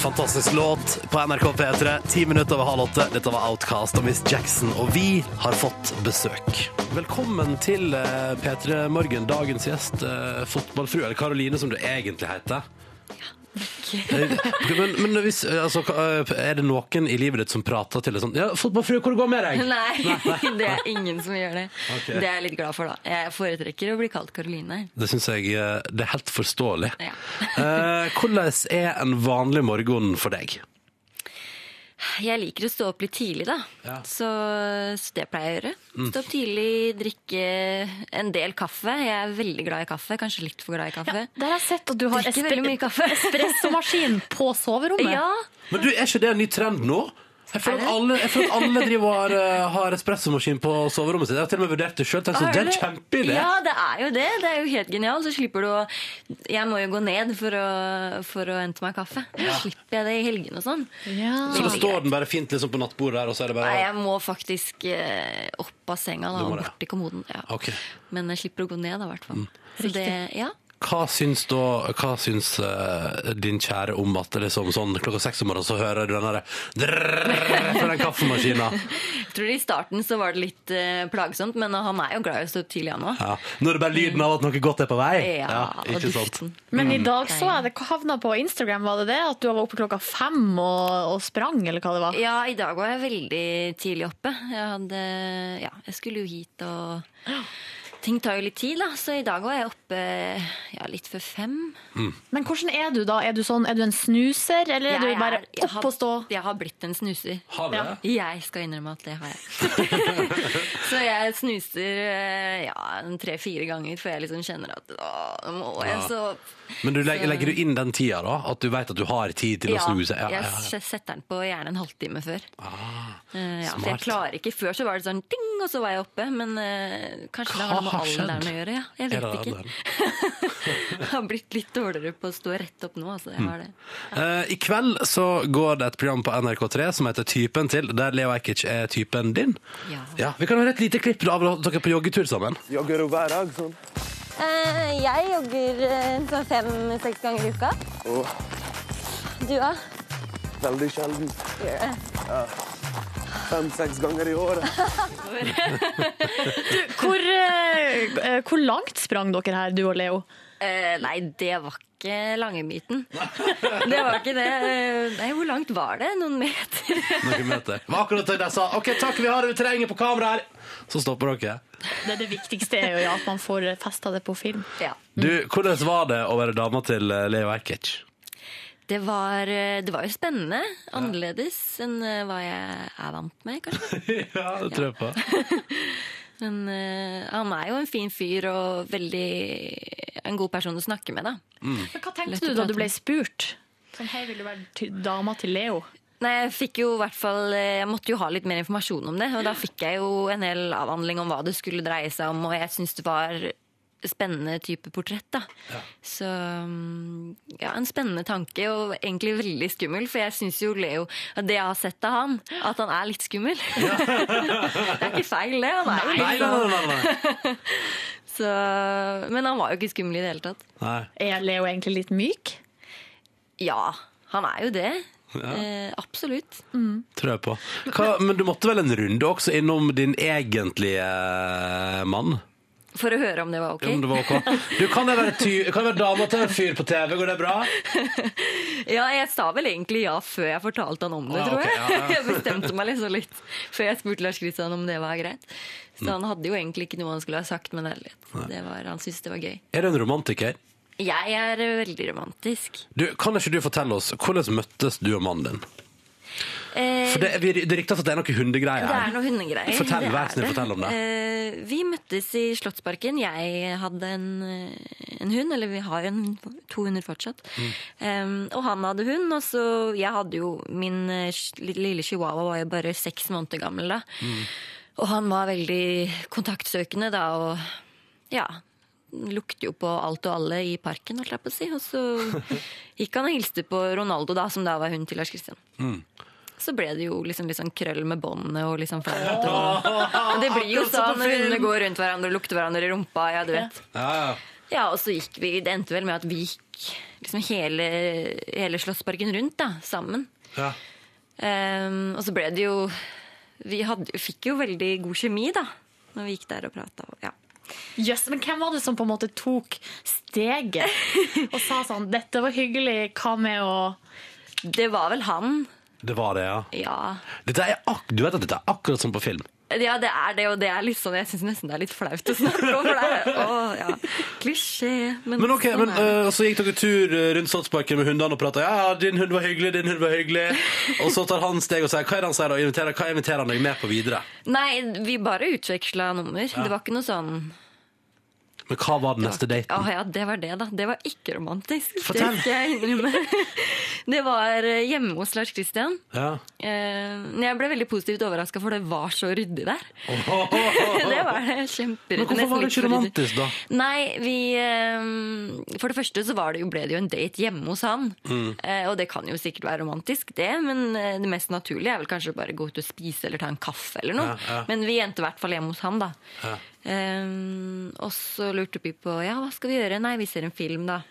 Fantastisk låt på NRK P3. Ti minutter over halv åtte. Dette var Outcast og Miss Jackson, og vi har fått besøk. Velkommen til eh, P3 Morgen, dagens gjest, eh, fotballfru, eller Karoline som du egentlig heter. Eh, men men hvis, eh, altså, eh, er det noen i livet ditt som prater til deg sånn Ja, fotballfru, hvor går det med deg? Nei, det er ingen som gjør det. Ok. Det er jeg litt glad for, da. Jeg foretrekker å bli kalt Karoline. Det syns jeg eh, det er helt forståelig. Ja. Eh, hvordan er en vanlig morgen for deg? Jeg liker å stå opp litt tidlig, da. Ja. Så, så det pleier jeg å gjøre. Mm. Stå opp tidlig, drikke en del kaffe. Jeg er veldig glad i kaffe. Kanskje litt for glad i kaffe. Der har jeg sett at du har Drikker espre- veldig mye kaffe. espressomaskin på soverommet. Ja. Men du, Er ikke det en ny trend nå? Jeg føler at alle, jeg føler at alle driver og har, eh, har espressomaskin på soverommet sitt. Jeg har til og med vurdert det sjøl. Det Har er du- kjempeidé! Ah, Ja, det er jo det. Det er jo helt genialt. Så slipper du å Jeg må jo gå ned for å, for å hente meg kaffe. Slipper jeg det i helgene og sånn. Så da Veldig står den bare fint liksom på nattbordet der, og så er det bare Nei, jeg må faktisk eh, opp av senga da, Du må og det. bort til kommoden. Ja. Ok. Men jeg slipper å gå ned, da, i hvert fall. Mm. Så det, ja. Hva syns da Hva syns eh, din kjære om at det liksom sånn klokka seks om morgenen så hører du den derre drrrr fra den kaffemaskina? Jeg tror I starten så var det litt eh, plagsomt, men han er jo glad i å stå opp tidlig, han òg. Ja. Nå er det bare lyden av at noe godt er på vei. Ja, og ikke sant? Men i Mm. dag så jeg det hva havna på Instagram, var det det? At du var oppe klokka fem og, og sprang, eller hva det var? Ja, i dag var jeg veldig tidlig oppe. Jeg hadde Ja, jeg skulle jo hit og Ting tar jo litt tid, da, så i dag var jeg oppe ja, litt før fem. Men hvordan er du da? Er du, sånn, er du en snuser, eller er du bare jeg opp og stå? Har, jeg har blitt en snuser. Har du Ja. det? Jeg skal innrømme at det har jeg. så jeg snuser eh, ja, en tre-fire ganger før jeg liksom kjenner at å, nå må jeg Ja. så Men du legger, så- legger du inn den tida, da? At du vet at du har tid til Ja, å snuse? Ja, ja, ja. Jeg setter den på gjerne en halvtime før. Eh, ja, for jeg smart. klarer ikke Før så var det sånn ding, og så var jeg oppe. Men eh, kanskje det har noe med har skjedd? alderen å gjøre. Ja, jeg Er vet det ikke. Jeg har blitt litt dårligere på å stå rett opp nå, altså. Jeg Mm. har det. Eh, I kveld så går det et program på NRK3 som heter Typen til, der Leo Ajkic er typen din. Ja. vi kan høre et lite klipp da av dere på joggetur sammen. Jogger hun hver dag sånn? Eh, Jeg jogger eh, sånn fem-seks ganger i uka. Og Du da? Veldig sjelden. Gjør det. Ja. Fem-seks ganger i året. Du, hvor, eh, eh, hvor langt sprang dere her, du og Leo? Eh, nei, det var ikke Langemyten. Det var ikke det. Eh, Nei, hvor langt var det? Noen meter? Noen meter. Det var akkurat det jeg sa. OK, takk, vi har terrenget på kamera her! Så stopper dere. Det, er det viktigste er jo ja, at man får festa det på film. Du, hvordan var det å være dama til eh, Leo Ajkic? Det var, eh, det var jo spennende. Annerledes enn eh, hva jeg er vant med, kanskje. ja, det tror jeg på. Men eh, han er jo en fin fyr og veldig en god person å snakke med, da. Men hva tenkte Lett du å da prate du ble med. spurt? Sånn, hei, vil du være ty- dama til Leo? Nei, Jeg fikk jo i hvert fall, eh, jeg måtte jo ha litt mer informasjon om det, og da fikk jeg jo en hel avhandling om hva det skulle dreie seg om, og jeg syns det var spennende type portrett. da. Så mm, ja, en spennende tanke, og egentlig veldig skummel, for jeg syns jo Leo at Det jeg har sett av han, at han er litt skummel. det er ikke feil, det. Han er Nei, jo litt nei, sånn. nei, nei, nei. Så, men han var jo ikke skummel i det hele tatt. nei. Er Leo egentlig litt myk? Ja, han er jo det. Ja. Eh, absolutt. Tror jeg på. Hva, men du måtte vel en runde også innom din egentlige eh, mann? For å høre om det var ok. Om det var ok. Du, kan jeg være, ty kan jeg være dama til en fyr på TV? Går det bra? Ja, jeg sa vel egentlig ja før jeg fortalte han om det, Å, ja, tror ok, jeg. ja, ja. jeg bestemte meg liksom litt før jeg spurte Lars Kristian om det var greit. Så Mm. han hadde jo egentlig ikke noe han skulle ha sagt, men ærlighet. Det var, han syntes det var gøy. Er du en romantiker? Jeg er eh, veldig romantisk. Du, kan ikke du fortelle oss hvordan møttes du og mannen din? Eh, For det, vi- det ryktes at det er noe hundegreier. Det er noen hundegreier. Fortell, det vær er snill, det. fortell om det. Eh, vi møttes i Slottsparken. Jeg hadde en, eh, en hund, eller vi har en, to hunder fortsatt. Mm. Eh, og han hadde hund, og så jeg hadde jo Min eh, sh- lille chihuahua var jo bare seks måneder gammel da. Mm. Og han var veldig kontaktsøkende da, og ja Lukte jo på alt og alle i parken, holdt jeg på å si. Og så gikk han og hilste på Ronaldo, da, som da var hunden til Lars Christian. Mm. Så ble det jo liksom litt sånn krøll med båndene og liksom flaut. Og det blir jo Akkurat som på sånn når hundene film. går rundt hverandre og lukter hverandre i rumpa. Ja, du vet. Ja, ja. Ja, og så gikk vi, det endte vel med at vi gikk liksom hele, hele Slottsparken rundt da, sammen. Ja. Ehm, og så ble det jo Vi hadde, fikk jo veldig god kjemi da, når vi gikk der og prata. Ja. Jøss, men hvem var det som på en måte tok steget og sa sånn 'Dette var hyggelig, hva med å Det var vel han. Det var det, ja. Ja. Dette er ak du vet at dette er akkurat som på film. Ja, det er det, og det er litt sånn Jeg syns nesten det er litt flaut å snakke om, for det er å, ja. klisjé. Men, Men ok, sånn men, er det. øh, Så gikk dere tur øh, rundt Slottsparken med hundene og prata. Ja, 'Din hund var hyggelig, din hund var hyggelig.' Og så tar han steg og sier Hva er det han sier da? Inviterer, hva inviterer han deg med på videre? Nei, vi bare utveksla nummer. Det var ikke noe sånn Men hva var den det var neste ikke- daten? Ah, ja, det var det, da. Det var ikke romantisk. Fortell. Det skal jeg innrømme. Det var eh, hjemme hos Lars Christian. Ja. Eh, men jeg ble veldig positivt overraska, for det var så ryddig der. det var det. Kjemperyddig. Men hvorfor var det ikke nesten litt for ryddig. romantisk, da? Nei, vi eh, For det første så var det jo, ble det jo en date hjemme hos han. Mm. Eh, og det kan jo sikkert være romantisk, det, men eh, det mest naturlige er vel kanskje bare gå ut og spise eller ta en kaffe eller noe. Ja, ja. Men vi endte i hvert fall hjemme hos han, da. Ja. Ehm, og så lurte vi på ja, hva skal vi gjøre. Nei, vi ser en film, da.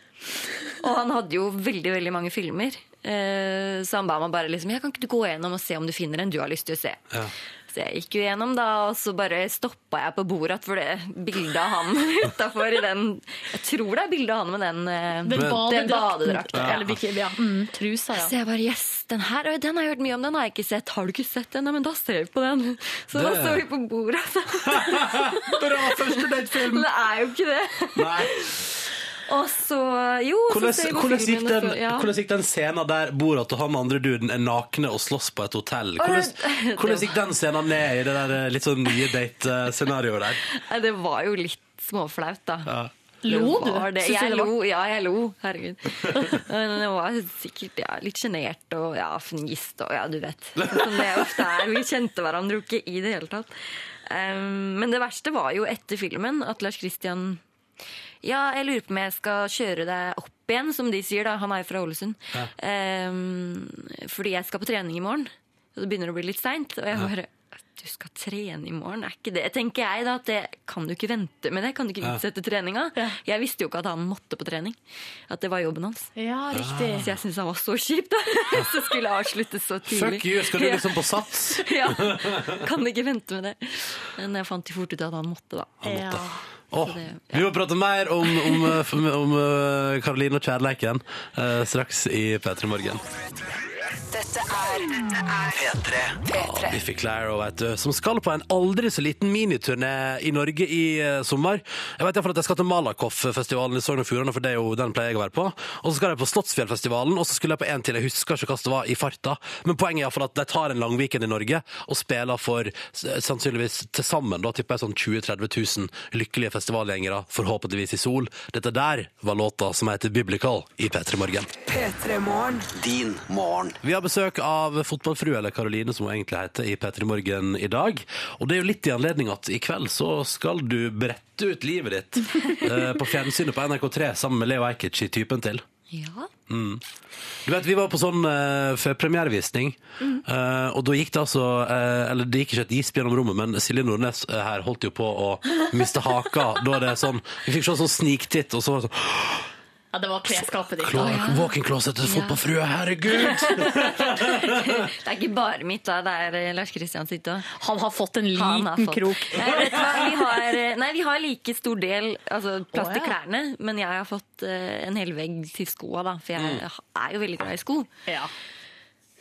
Og han hadde jo veldig veldig mange filmer. Eh, så han ba meg bare liksom, ja, kan ikke du gå gjennom og se om du finner en du har lyst til å se. Ja. Så jeg gikk jo gjennom, da, og så bare stoppa jeg på bordet for det bildet av han utafor i den Jeg tror det er bilde av han med den, eh, Den badedrakten. badedrakten. Eller bikini, ja. Mm, trusa, ja. Så jeg bare yes, den her oi, den har jeg hørt mye om, den har jeg ikke sett. Har du ikke sett den? Nei, men da ser vi på den. Så da Det- står vi på bordet. Bra første datefilm! Det er jo ikke det. Og så jo, Hvordan, så ser vi på hvordan, gikk filmen, og den, så- ja. hvordan gikk den scenen der bordet til han andre duden er nakne og slåss på et hotell? Hvordan, det- hvordan gikk den scenen ned i det der eh, litt sånn nye date-scenarioet der? Nei, det var jo litt småflaut, da. Lo Det du? var Det. Synes du Jeg det var- lo, ja, jeg lo. Herregud. Men jeg var sikkert ja, litt sjenert og ja, fnist og ja, du vet. Sånn Som det ofte er. Vi kjente hverandre jo ikke i det hele tatt. Um, men det verste var jo etter filmen at Lars Christian Ja, jeg lurer på om jeg skal kjøre deg opp igjen, som de sier, da. Han er jo fra Ålesund. Um, fordi jeg skal på trening i morgen. Og det begynner å bli litt seint. Og jeg bare at du skal trene i morgen, er ikke det tenker jeg da, at det kan du ikke vente med det. Kan du ikke Ja. utsette treninga? Jeg visste jo ikke at han måtte på trening. At det var jobben hans. Ja, riktig. Så jeg syntes han var så kjip, da. Så skulle avslutte så tidlig. Fuck you, skal du liksom på sats? Ja. Kan ikke vente med det. Men jeg fant jo fort ut at han måtte, da. Åh, Vi må prate mer om, om, eh, om eh, Karoline og kjærleiken eh, straks i P3 Morgen. Dette er P3. Ja, Biffy Clyro, vet du, som skal på en aldri så liten miniturné i Norge i eh, sommer. Jeg vet i hvert fall at jeg skal til Malakoff-festivalen i Sogn og Fjordane, for det er jo den pleier jeg å være på. Og så skal jeg på Slottsfjellfestivalen, og så skulle jeg på en til, jeg husker ikke hva det var, i farta. Men poenget er i hvert fall at de tar en langweekend i Norge og spiller for eh, sannsynligvis til sammen, da tipper jeg sånn 20 000-30 000 lykkelige festivalgjengere, forhåpentligvis i sol. Dette der var låta som heter Biblical i P3 Morgen. P3 Morgen. Din morgen. Vi har besøk av fotballfrue, eller Karoline som hun egentlig heter, i P3 Morgen i dag. Og det er jo litt i anledning at i kveld så skal du brette ut livet ditt eh, på fjernsynet på NRK3 sammen med Leo Ajkic i typen til. Ja. Mm. Du vet, Vi var på sånn eh, førpremierevisning, Mm. eh, og da gikk det altså eh, Eller det gikk ikke et gisp gjennom rommet, men Silje Nordnes eh, her holdt jo på å miste haka. da det er sånn Vi fikk se sånn sniktitt, og så var det sånn Ja, det var klesskapet ditt. Klar, Walk-in closet til fotballfrue, herregud! Det er ikke bare mitt, da. Det er eh, Lars Kristian sitt òg. Han har fått en Han har liten fått- krok. Nei, vet du hva? Vi har, eh, nei, vi har like stor del altså, plass Å, til ja. klærne, men jeg har fått eh, en hel vegg til skoa, da. For jeg Mm. er jo veldig glad i sko.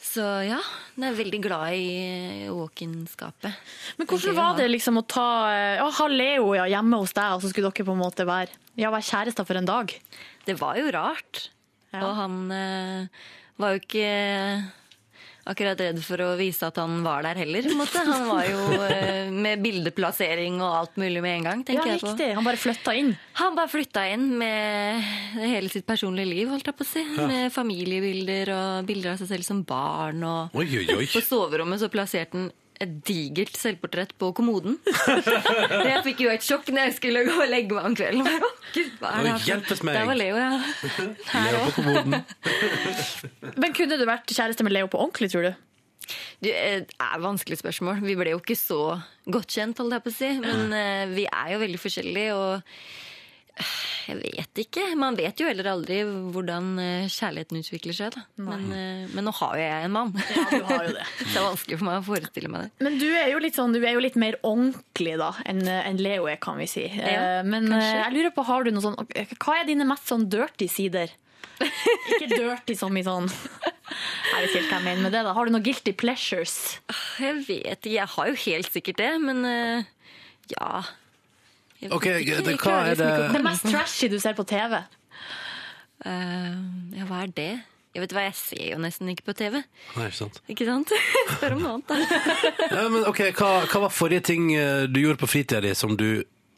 Så ja, jeg er veldig glad i eh, walk-in-skapet. Men hvordan var det liksom å ta eh, Å ha Leo ja, hjemme hos deg, og så skulle dere på en måte være ja, være kjærester for en dag? Det var jo rart. Og han eh, var jo ikke eh, akkurat redd for å vise at han var der heller. På en måte. Han var jo eh, med bildeplassering og alt mulig med en gang. tenker ja, jeg på. riktig. Han bare flytta inn. Han bare flytta inn med hele sitt personlige liv, holdt jeg på å si. Ja. Med familiebilder og bilder av seg selv som barn. Og Oi, oi, oi. på soverommet så plasserte han et digert selvportrett på kommoden. jeg fikk jo et sjokk når jeg skulle gå og legge meg om kvelden. Jeg bare, «Å, Gud, hva Oi, er det her for- hjelpes meg. Der var Leo, ja. Leo på kommoden. Men kunne du vært kjæreste med Leo på ordentlig, tror du? Du, eh, det er et vanskelig spørsmål. Vi ble jo ikke så godt kjent, holdt jeg på å si. Men eh, vi er jo veldig forskjellige, og eh, jeg vet ikke. Man vet jo heller aldri hvordan eh, kjærligheten utvikler seg. Da. Men, eh, men nå har jo jeg en mann. så det er vanskelig for meg å forestille meg det. Men du er jo litt, sånn, du er jo litt mer ordentlig da, enn eh, enn Leo er, kan vi si. Eh, Men kanskje. eh, jeg lurer på, har du noe sånn, hva er dine mest sånn dirty sider? Ikke dirty som i sånn Jeg vet ikke helt hva jeg mener med det. da. Har du noen guilty pleasures? Jeg vet ikke. Jeg har jo helt sikkert det, men eh, ja. Jeg vet Ok, ikke. Jeg det- hva er klarer liksom ikke å det- komme Det mest på noe. trashy du ser på TV? Eh, ja, hva er det? Jeg vet hva, jeg ser jo nesten ikke på TV. Nei, ikke sant. Ikke sant? Spør om noe annet, da. Ja, men ok, hva, hva var forrige ting eh, du gjorde på fritida di som du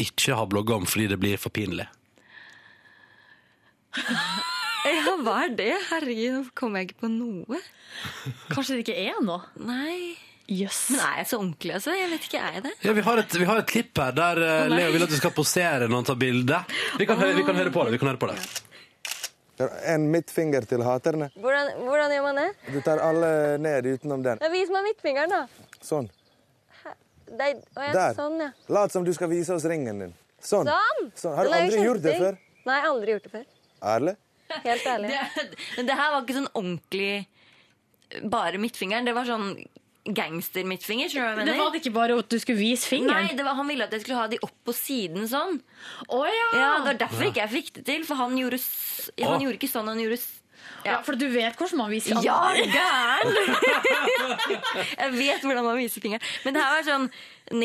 ikke har blogga om fordi det blir for pinlig? Ja, hva er det? Herregud, nå kommer jeg ikke på noe. Kanskje det ikke er noe? Nei. Jøss. Men er jeg så ordentlig, altså? Jeg vet ikke, er jeg det? Ja, Vi har et, vi har et klipp her der eh, Å, nei. Leo vil at du skal posere når han tar bilde. Vi, kan høre- vi kan høre på det. vi kan høre på det. En midtfinger til haterne. Hvordan, hvordan gjør man det? Du tar alle ned utenom den. Ja, vis meg midtfingeren, da. Sånn. Det, å, ja, Der. Sånn, ja. Lat som du skal vise oss ringen din. Sånn. Sånn? Har du Den er jo aldri gjort det kjempefin. før? Nei, aldri gjort det før. Ærlig? Helt ærlig. Det, men det her var ikke sånn ordentlig eh, bare midtfingeren. Det var sånn gangster-midtfinger, skjønner du hva Det jeg mener? var det ikke bare at du skulle vise fingeren? Nei, det var, han ville at jeg skulle ha de opp på siden sånn. Å ja! Det var derfor ikke jeg fikk det til, for han gjorde, s- Å. han gjorde ikke sånn, han gjorde s- ja. for du vet hvordan man viser Ja, er du gæren! jeg vet hvordan man viser fingeren. Men det her var sånn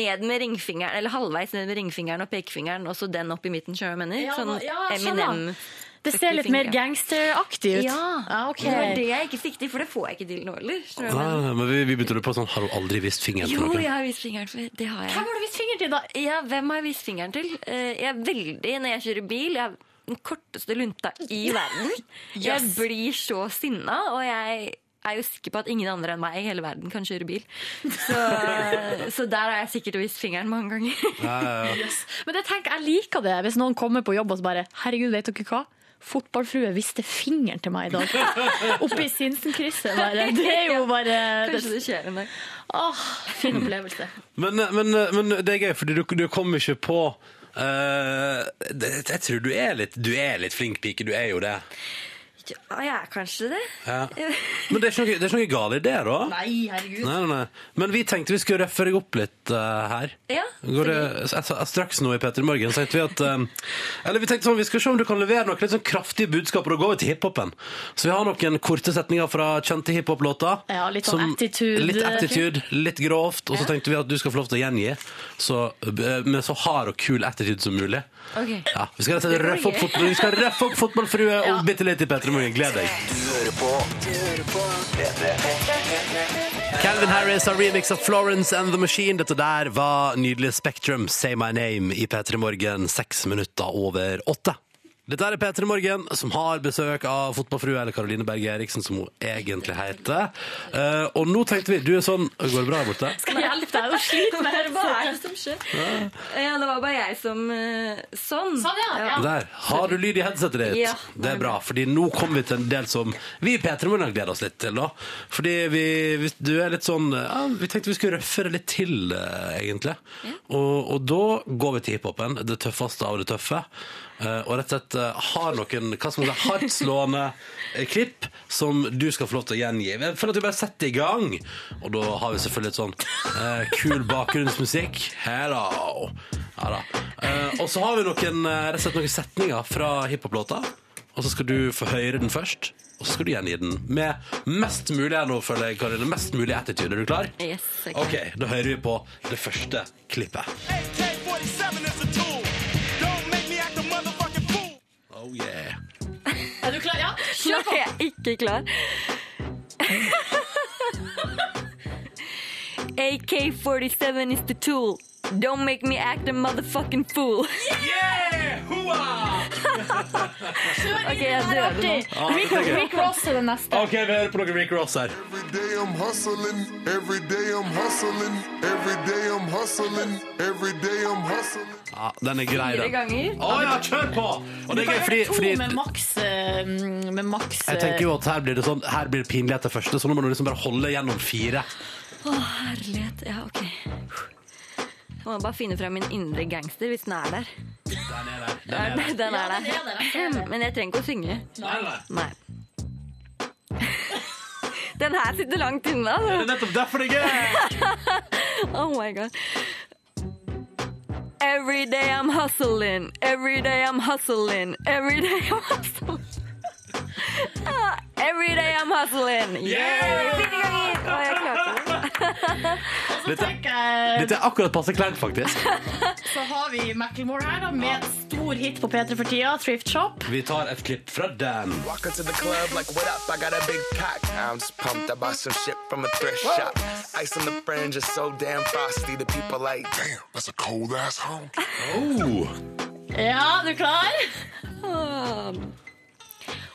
ned med ringfingeren, eller halvveis ned med ringfingeren og pekefingeren, og så den opp i midten, skjønner du hva jeg mener? Ja, Sånn ja, jeg skjønner. Eminem. Det ser litt mer gangsteraktig ut. Ja. ok. Det var det jeg ikke fikk til, for det får jeg ikke til nå heller. skjønner Nei, du hva jeg mener? nei, Ah, men vi, vi begynte på sånn Har hun aldri vist fingeren til Jo, noen? jeg har vist fingeren for det har jeg. Hvem har du vist fingeren til, da? Ja, hvem har jeg vist fingeren til? Eh, Jeg er veldig, når jeg kjører bil, jeg er den korteste lunta i verden. Jeg Yes. blir så sinna, og jeg er jo sikker på at ingen andre enn meg i hele verden kan kjøre bil. Så, så der har jeg sikkert vist fingeren mange ganger. Ja, ja, ja. Men jeg tenker, jeg liker det hvis noen kommer på jobb og så bare Herregud, vet dere hva? Fotballfrue viste fingeren til meg i dag. Oppe i Sinsenkrysset. Bare. Det er jo bare Kanskje det skjer en dag. Åh, fin opplevelse. Men, eh, men, men det er gøy, fordi du, du kommer ikke på eh, det, Jeg tror du er litt Du er litt flink pike, du er jo det. Ja, jeg er kanskje det. Ja. Men det er ikke noe, det er ikke noe gal idé, da? Nei, herregud. Nei, nei, nei. Men vi tenkte vi skulle røffe deg opp litt eh, her. Ja, Går det, s- s- straks nå i Petter i Morgen så tenkte vi at eh, Eller vi tenkte sånn, vi skal se om du kan levere noen litt sånn kraftige budskaper og gå over til hiphopen. Så vi har noen korte setninger fra kjente hiphop-låter. Ja, litt som- sånn attitude. Litt attitude, litt grovt. Og så tenkte vi at du skal få lov til å gjengi så, eh, med så hard og kul attitude som mulig. Ok. Ja, vi skal rett og slett røffe opp, fotball, vi skal røffe opp fotballfrue og bitte litt i Petter i Morgen. Gled deg. Du hører på P3. Calvin Harris har remix av Florence and the Machine. Dette der var nydelige Spektrum, Say My Name, i P3 Morgen seks minutter over åtte. Dette er P3 Morgen, som har besøk av fotballfrue, eller Karoline Berge Eriksen, som hun egentlig heter. Eh, og nå tenkte vi Du er sånn Går det bra der borte? Skal jeg hjelpe deg å slite med det? Hva er det som skjer? Ja. Ja, det var bare jeg som eh, Sånn. Der. Har du lyd i headsetet ditt? Ja. det er bra, fordi nå kommer vi til en del som vi i P3 Morgen gleder oss litt til. da. Fordi vi, vi, du er litt sånn ja, Vi tenkte vi skulle røffe det litt til, eh, egentlig. Og, og da går vi til hiphopen. Det tøffeste av det tøffe. Eh, og rett og slett eh, har noen hva skal man si, hardtslående eh, klipp som du skal få lov til å gjengi. Jeg føler at vi bare setter i gang. Og da har vi selvfølgelig litt sånn eh, kul bakgrunnsmusikk. Hello! Ja da. Eh, og så har vi noen, eh, rett og slett noen setninger fra hiphop-låta. Og så skal du få høre den først, og så skal du gjengi den med mest mulig her nå, føler jeg, Karoline. Mest mulig attitude. Er du klar? Yes, jeg er klar. OK, da hører vi på det første klippet. Oh yeah. Er du klar? Ja, kjør Nei, jeg er ikke klar. AK-47 is the tool. Don't make me act a motherfucking fool. Ok, jeg dør Ja, det nå. tenker jeg. Rick Ross er den neste. OK, vi hører på noe Rick Ross her. day I'm hustling, every day I'm hustling, every day I'm hustling, every day I'm hustling. Ja, den er grei, Fire den. ganger. Å ja, kjør på! Og det er gøy, Bare fordi, to med fordi maks, eh, med maks jeg tenker jo at her blir det sånn Her blir det pinlig etter første, så nå må du liksom bare holde gjennom fire. Å, herlighet. Ja, ok. Jeg må bare finne frem min indre gangster hvis den er der. Den er der. Den Ja, er der. den er der, jeg ser det. Men jeg trenger ikke å synge. Nei, nei. Nei. Den her sitter langt unna. Det er nettopp derfor det er gøy! oh my god. Every day I'm hustling, every day I'm hustling, every day I'm hustling. Ah, every day I'm hustling. Oh Yeah! Fire ganger! Og jeg klarte det. Dette, tenker jeg- dette er akkurat passe kleint, faktisk. Så har vi Macklemore her, da, med et stor hit på P3 for tida, Thrift Shop. Vi tar et klipp fra den. Walk into the club like, what up? I got a big pack. I'm just pumped. I bought some shit from a thrift shop. Ice on the fringe is so damn frosty. The people like, damn, that's a cold ass home. Oh. Ja, du klar? Um,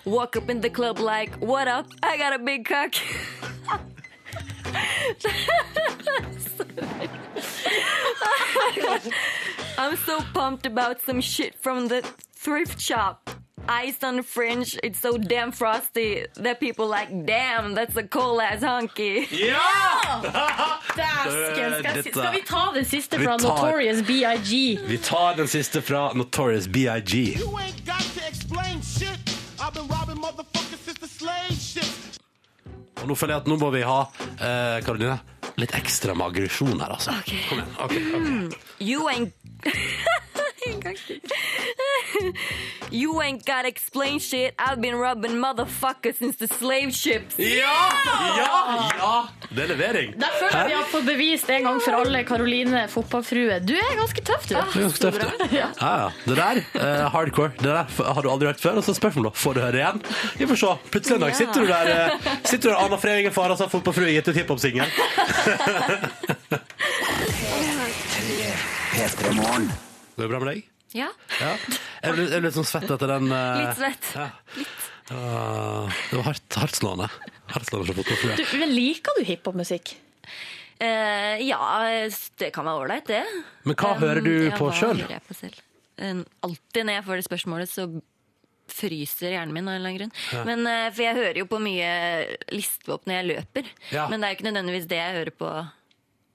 walk up in the club like, what up? I got a big cock. Sorry. I'm so pumped about some shit from the thrift shop. Ice on the fringe, it's so damn frosty that people like, damn, that's a cold ass honky. Dæsken! Skal, jeg si- Dette- skal vi ta den siste Vi fra tar- Notorious BIG? Vi tar den siste fra Notorious BIG. ain't got to explain shit. I've been robbing motherfuckers since the slave shit. Og nå føler jeg at nå må vi ha eh, Karoline, litt ekstra med aggresjon her, altså. Kom igjen. ok, ok. You ain't. En gang til. you ain't gotta explain shit. I've been rubbing motherfuckers since the slave ships. Det er levering. Der føler jeg vi har fått bevist en gang for alle, Karoline fotballfrue. Du er ganske tøff, du. Det er ganske tøft, det. Ja, ja. Det der, eh, hardcore, det der f- har du aldri hørt før. Og så spørsmålet, får du høre igjen? Vi får se. Plutselig en dag sitter du der, eh, sitter du der Anna Frevingen far, altså fotballfrue, gitt ut hiphop-singel. Går det bra med deg? Ja. Ja. Jeg ble, jeg ble litt sånn svett etter den eh, Litt svett. Ja. Ah, det var hardt, hardtslående. Hardtslående fra fotballfrue. Du, men liker du hiphopmusikk? Eh, ja, det kan være ålreit, det. Men hva Um, hører du ja, på hva sjøl? Eh, hører jeg på selv? Um, Alltid når jeg får det spørsmålet, så fryser hjernen min av en eller annen grunn. Ja. Men, eh, for jeg hører jo på mye listepop når jeg løper. Ja. Men det er jo ikke nødvendigvis det jeg hører på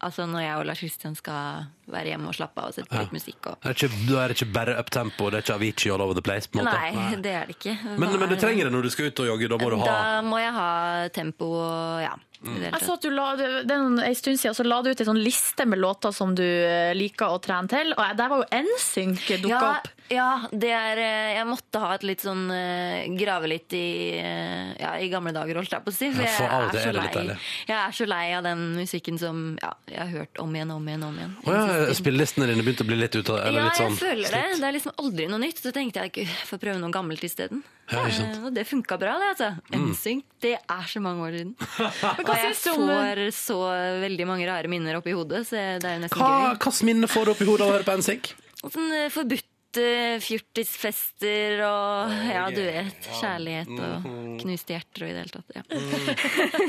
altså når jeg og Lars Kristian skal være hjemme og slappe av og sette på Ja. litt musikk. Og... Det er ikke, da er det ikke bare uptempo, det er ikke Avicii all over the place? på en måte. Nei, det er det ikke. Hva Men, men du er- trenger det når du skal ut og jogge, da må du ha Mm. Da må jeg ha tempo og ja. i det hele Jeg tatt. så at du la, det er en en stund siden så la du ut en sånn liste med låter som du eh, liker å trene til, og der var jo NSYNC dukka ja, opp. Ja, det er, eh, jeg måtte ha et litt sånn eh, Grave litt i, eh, ja, i gamle dager, holdt jeg på å si. Ja, jeg, for av og til er så det litt lei, deilig. jeg er så lei av den musikken som ja, jeg har hørt om igjen, om igjen, om igjen. Å ja, spillelistene dine begynte å bli litt ut av eller ja, litt sånn jeg føler det. slitt. Det er liksom aldri noe nytt. Så tenkte jeg ikke får prøve noe gammelt isteden. Ja, ikke sant. Eh, Og det funka bra, det. altså. Mm. NSYNC, det er så mange år siden. Men Og hva jeg synes du om- får så veldig mange rare minner oppi hodet, så det er jo nesten Hva gøy. slags minne får du opp i hodet av å høre på NSYNC? Sånn eh, forbudte fjortisfester og ja, du vet. Kjærlighet og Mhm. knuste hjerter og i det hele tatt. Ja.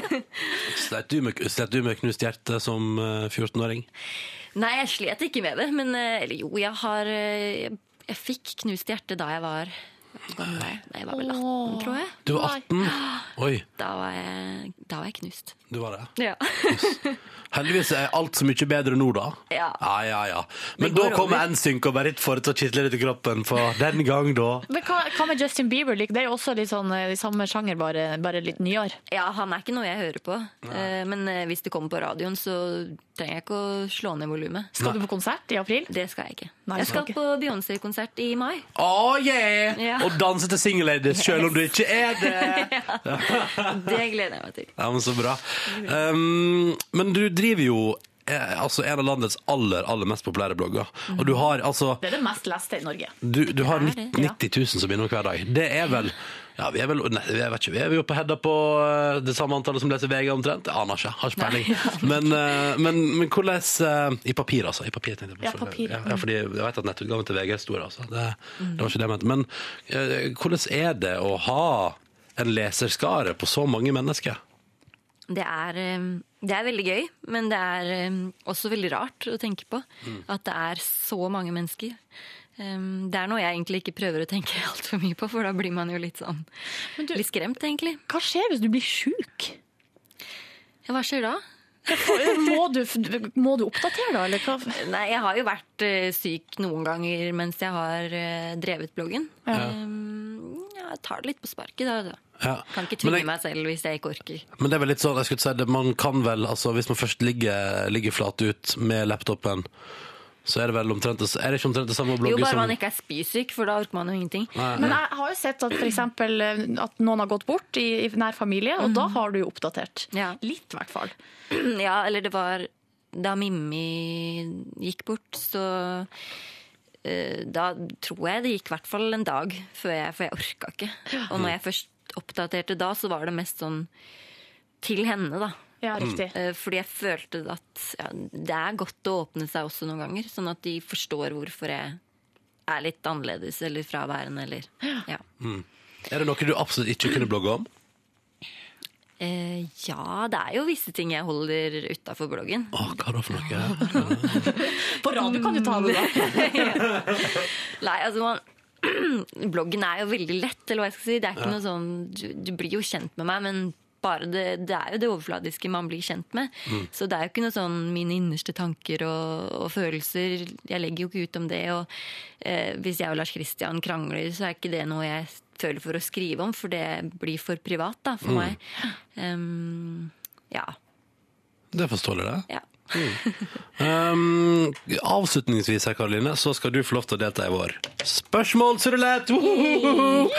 Slet du med, slet du med knust hjerte som eh, 14-åring? Nei, jeg slet ikke med det, men eh, eller jo, jeg har eh, Jeg, jeg fikk knust hjerte da jeg var Nei, jeg var vel 18, tror jeg. Du var 18? Oi, Da var jeg, da var jeg knust. du var det. Ja. Heldigvis er alt så mye bedre nå, da. Ja. Ja, ja, ja. Men Det da går kommer NSYNC og bare litt for å kitle litt i kroppen, for den gang da Men hva, hva med Justin Bieber? Like, Det er jo også litt sånn eh, i samme sjanger, bare, bare litt nyere. Ja, han er ikke noe jeg hører på. Eh, Men eh, hvis det kommer på radioen, så trenger jeg ikke å slå ned volumet. Skal du på konsert i april? Det skal jeg ikke. Nei, jeg du skal skal på Beyoncé-konsert i mai. Oh yeah! Ja. Og danse til Single Ladies, selv om du ikke er det! Det gleder jeg meg til. Ja, men så bra. Um, men du driver jo eh, altså, en av landets aller, aller mest populære blogger. Og du har altså Det er det mest leste i Norge. du, du har Det er 90 det, 000 som innom hver dag. Det er vel ja, vi er vel nei, jeg vet ikke, vi er jo på Hedda på eh, det samme antallet som leser VG omtrent. Jeg aner ikke, har ikke peiling. Men, eh, men, men hvordan eh, I papir, altså. I papir, tenkte jeg på. Ja, Mm. papir, Ja, mm. ja, fordi jeg vet at nettutgaven til VG er stor, altså. Det, det var ikke det jeg mente. Men eh, hvordan er det å ha en leserskare på så mange mennesker? Det er, eh, det er veldig gøy, men det er eh, også veldig rart å tenke på. Mm. At det er så mange mennesker. Eh, Det er noe jeg egentlig ikke prøver å tenke altfor mye på, for da blir man jo litt sånn Litt skremt, egentlig. Hva skjer hvis du blir sjuk? Ja, hva skjer da? Må du, må du oppdatere, da? Eller hva? Nei, jeg har jo vært eh, syk noen ganger mens jeg har eh, drevet bloggen. Ja. Um, ja, jeg tar det litt på sparket, da. da. Ja. Kan ikke Men tvinge jeg- meg selv hvis jeg ikke orker. Men det er vel litt sånn, jeg skulle si det, man kan vel, altså hvis man først ligger, ligger flat ut med laptopen, så er det vel omtrent, det- er det ikke omtrent det samme å Jo, blogge bare som... man ikke er spysyk, for da orker man jo ingenting. Nei. Men jeg har jo sett at, for eksempel, eh, at noen har gått bort i, i nær familie, og da har du jo oppdatert. Litt, i hvert fall. Ja, eller det var da Mimmi gikk bort, så eh, da tror jeg det gikk i hvert fall en dag, før jeg, for jeg orka ikke. Og når jeg først oppdaterte da, så var det mest sånn til henne, da. Ja, Mm. riktig. Eh, Fordi jeg følte at ja, det er godt å åpne seg også noen ganger, sånn at de forstår hvorfor jeg er litt annerledes eller fraværende eller Ja. Mm. Er det noe du absolutt ikke kunne blogge om? Eh, ja, det er jo visse ting jeg holder utafor bloggen. Å, hva da for noe? På radio kan du ta det, da. Nei, altså man Bloggen er jo veldig lett, eller hva jeg skal si. Det er ikke Ja. noe sånn du, du blir jo kjent med meg, men bare det, det er jo det overfladiske man blir kjent med. Mm. Så det er jo ikke noe sånn mine innerste tanker og, og følelser. Jeg legger jo ikke ut om det. Og eh, hvis jeg og Lars Kristian krangler, så er ikke det noe jeg føler for å skrive om, for det blir for privat da, for Mm. meg. Ehm, ja. Det forstår jeg det. Ja. Um, avslutningsvis her, Karoline, så skal du få lov til å delta i vår spørsmålsrulett. Wohohoho!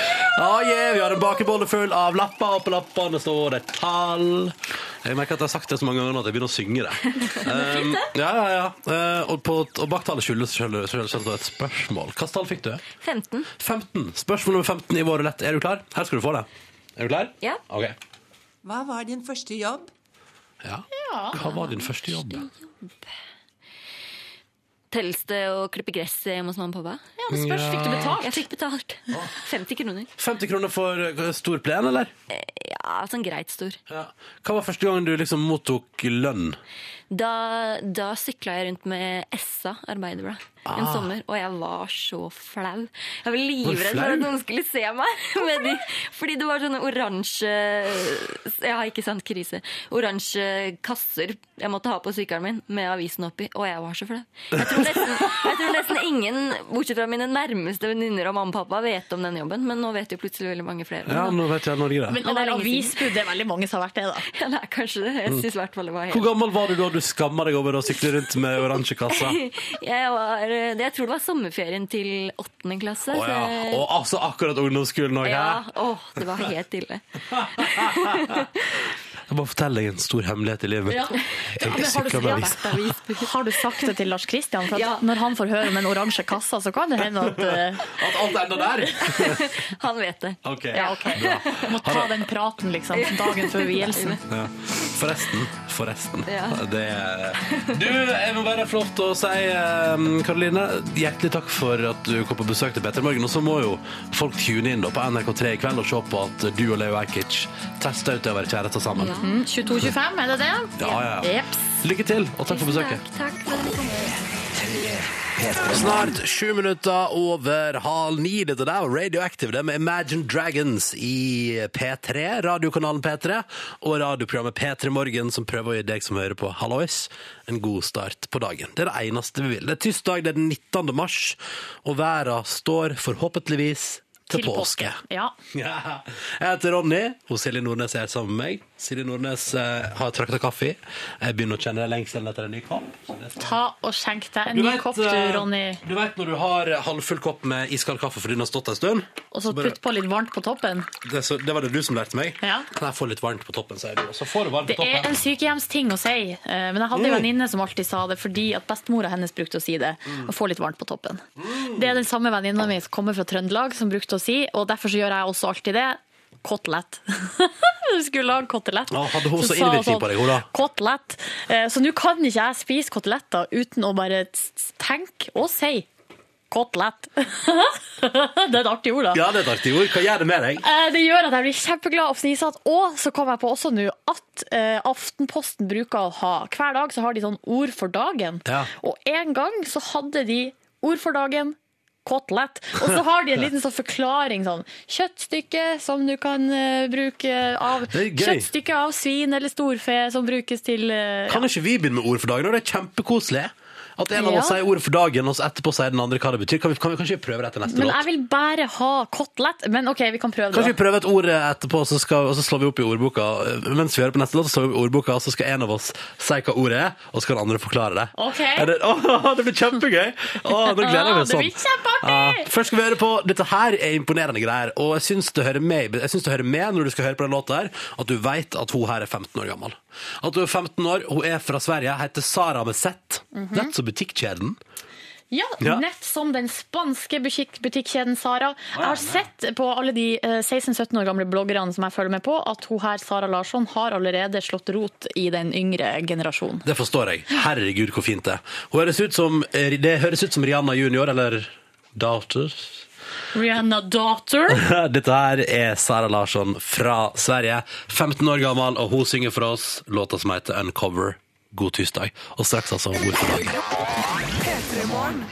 Ah, yeah, vi har en bakebolle full av lapper, og på lappene står det tall. Jeg merker at jeg har sagt det så mange ganger nå at jeg begynner å synge det. Um, ja, ja, ja. Eh, og, på, og bak tallet skyldes skyldes- skyldes det et spørsmål. Hvilket tall fikk du? 15. 15. Spørsmål nummer 15 i vår rulett. Er du klar? Her skal du få det. Er du klar? Ja. Ok. Hva var din første jobb? Ja. Hva var din første jobb? Telles det å klippe gress hjemme hos mamma og pappa? Ja, det spørs. Fikk du betalt? Jeg fikk betalt. 50 kroner. 50 kroner for eh, stor plen, eller? Ja, sånn greit stor. Hva var første gangen du liksom mottok lønn? Da, da sykla jeg rundt med Essa arbeiderblad en Ah. sommer, og jeg var så flau. Jeg var livredd flau? for at noen skulle se meg. Med de, fordi det var sånne oransje Ja, ikke sant, krise. Oransje kasser jeg måtte ha på sykkelen min med avisen oppi, og jeg var så flau. Jeg tror nesten, jeg tror nesten ingen, bortsett fra mine nærmeste venninner og mamma og pappa, vet om den jobben, men nå vet jo plutselig veldig mange flere. om Ja, den, da. nå vet jeg Norge Men det. det er lenge avisbud, det er veldig mange som har vært det, da. Ja, det er kanskje det. Jeg synes i hvert fall det var helt Hvor gammel var du da du skamma deg over å sykle rundt med oransje kassa? jeg, var, jeg tror det var sommerferien til åttende klasse. Å ja. så- Og altså akkurat ungdomsskolen òg, ja, hæ? åh, det var helt ille. Jeg må fortelle deg en stor hemmelighet i livet mitt. Ja. Ja, men Jeg har, du, sykla med avis. ja, har du sagt det til Lars Kristian? For at Når han får høre om den oransje kassa, så kan det hende at eh, At alt enda der? Han vet det. Ok. Ja, ok. Bra. Må ta den praten liksom, dagen før vielsen. Ja. Forresten. Forresten. Ja. Det er- Du, jeg må bare få lov til å si, eh, Karoline, hjertelig takk for at du kom på besøk til Petter i Morgen. Og så må jo folk tune inn da på NRK3 i kveld og se på at du og Leo Ajkic tester ut det å være kjærester sammen. Ja. Mm, 22.25, er det det? Ja, ja, ja. Jeps. Lykke til, og takk for besøket. Snart sju minutter over halv ni. Dette der var Radioactive det med Imagine Dragons i P3, radiokanalen P3, og radioprogrammet P3 Morgen, som prøver å gi deg som hører på Hallois, en god start på dagen. Det er det eneste vi vil. Det er tirsdag, det er den 19. mars, og verden står forhåpentligvis til, påske. Ja. Ja. Jeg heter Ronny, og Silje Nordnes er her sammen med meg. Silje Nordnes eh, har trakta kaffe. i. Jeg begynner å kjenne lengselen etter en ny kopp. så det skal- Ta og skjenk deg en Du ny vet, kopp, du, eh, Ronny. Du vet når du har halvfull kopp med iskald kaffe fordi den har stått en stund? Og så så bare- putt på litt varmt på toppen. Det, er så, det var det du som lærte meg. Ja. Kan jeg få litt varmt på toppen, sier du. Og så får du varmt Det på toppen. er en sykehjemsting å si, eh, men jeg hadde en Mm. venninne som alltid sa det fordi at bestemora hennes brukte å si det. Mm. Å få litt varmt på toppen. Det er den samme venninna mi som kommer fra Trøndelag som brukte å si, og derfor så gjør jeg også alltid det. Kotelett. du skulle lage kotelett. Å, hadde hun så sa hun innvirkning sånn, på deg, hun da? Kotelett. Eh, Så nå kan ikke jeg spise koteletter uten å bare s- s- tenke og si kotelett. det er et artig ord, da. Ja, det er et artig ord. Hva gjør det med deg? Eh, Det gjør at jeg blir kjempeglad og fnisatt. Og så kom jeg på også nå at eh, Aftenposten bruker å ha Hver dag så har de sånn ord for dagen. Ja. Og en gang så hadde de ord for dagen. Kotelett. Og så har de en liten sånn forklaring sånn Kjøttstykke som du kan eh, bruke av Det er gøy. Kjøttstykke av svin eller storfe som brukes til eh, Kan ikke vi begynne med ord for dagen? Det er kjempekoselig. At en av Ja. oss sier ord for dagen, og så etterpå sier den andre hva det betyr. Kan vi, kan vi kanskje prøve det etter neste Men låt? jeg vil bare ha kotelett. Men OK, vi kan prøve det. Kanskje vi da. prøver et ord etterpå, og så, skal, og så slår vi opp i ordboka. Mens vi hører på neste låt, så slår vi opp i ordboka, og så skal en av oss si hva ordet er, og så kan den andre forklare det. Ok. Er det, Åh, det blir kjempegøy! Åh, nå gleder jeg Åh, meg det sånn. blir kjempeartig! Ja. Først skal vi høre på Dette her er imponerende greier, og jeg syns det hører med, jeg syns det hører med når du skal høre på den låta her, at du veit at hun her er 15 år gammel. At hun er 15 år, hun er fra Sverige, heter Sara Meseth. Mhm. Nett som butikkjeden. Ja, Ja. nett som den spanske butikk- butikkjeden Sara. Jeg har sett på alle de eh, 16-17 år gamle bloggerne som jeg følger med på, at hun her, Sara Larsson, har allerede slått rot i den yngre generasjonen. Det forstår jeg. Herregud, hvor fint det er. Hun høres ut som, eh, det høres ut som Rihanna junior, eller Daughter. Rihanna Daughter. Dette her er Sara Larsson fra Sverige. 15 år gammel, og hun synger for oss låta som heter Uncover. God tirsdag. Og straks altså Ord for dagen.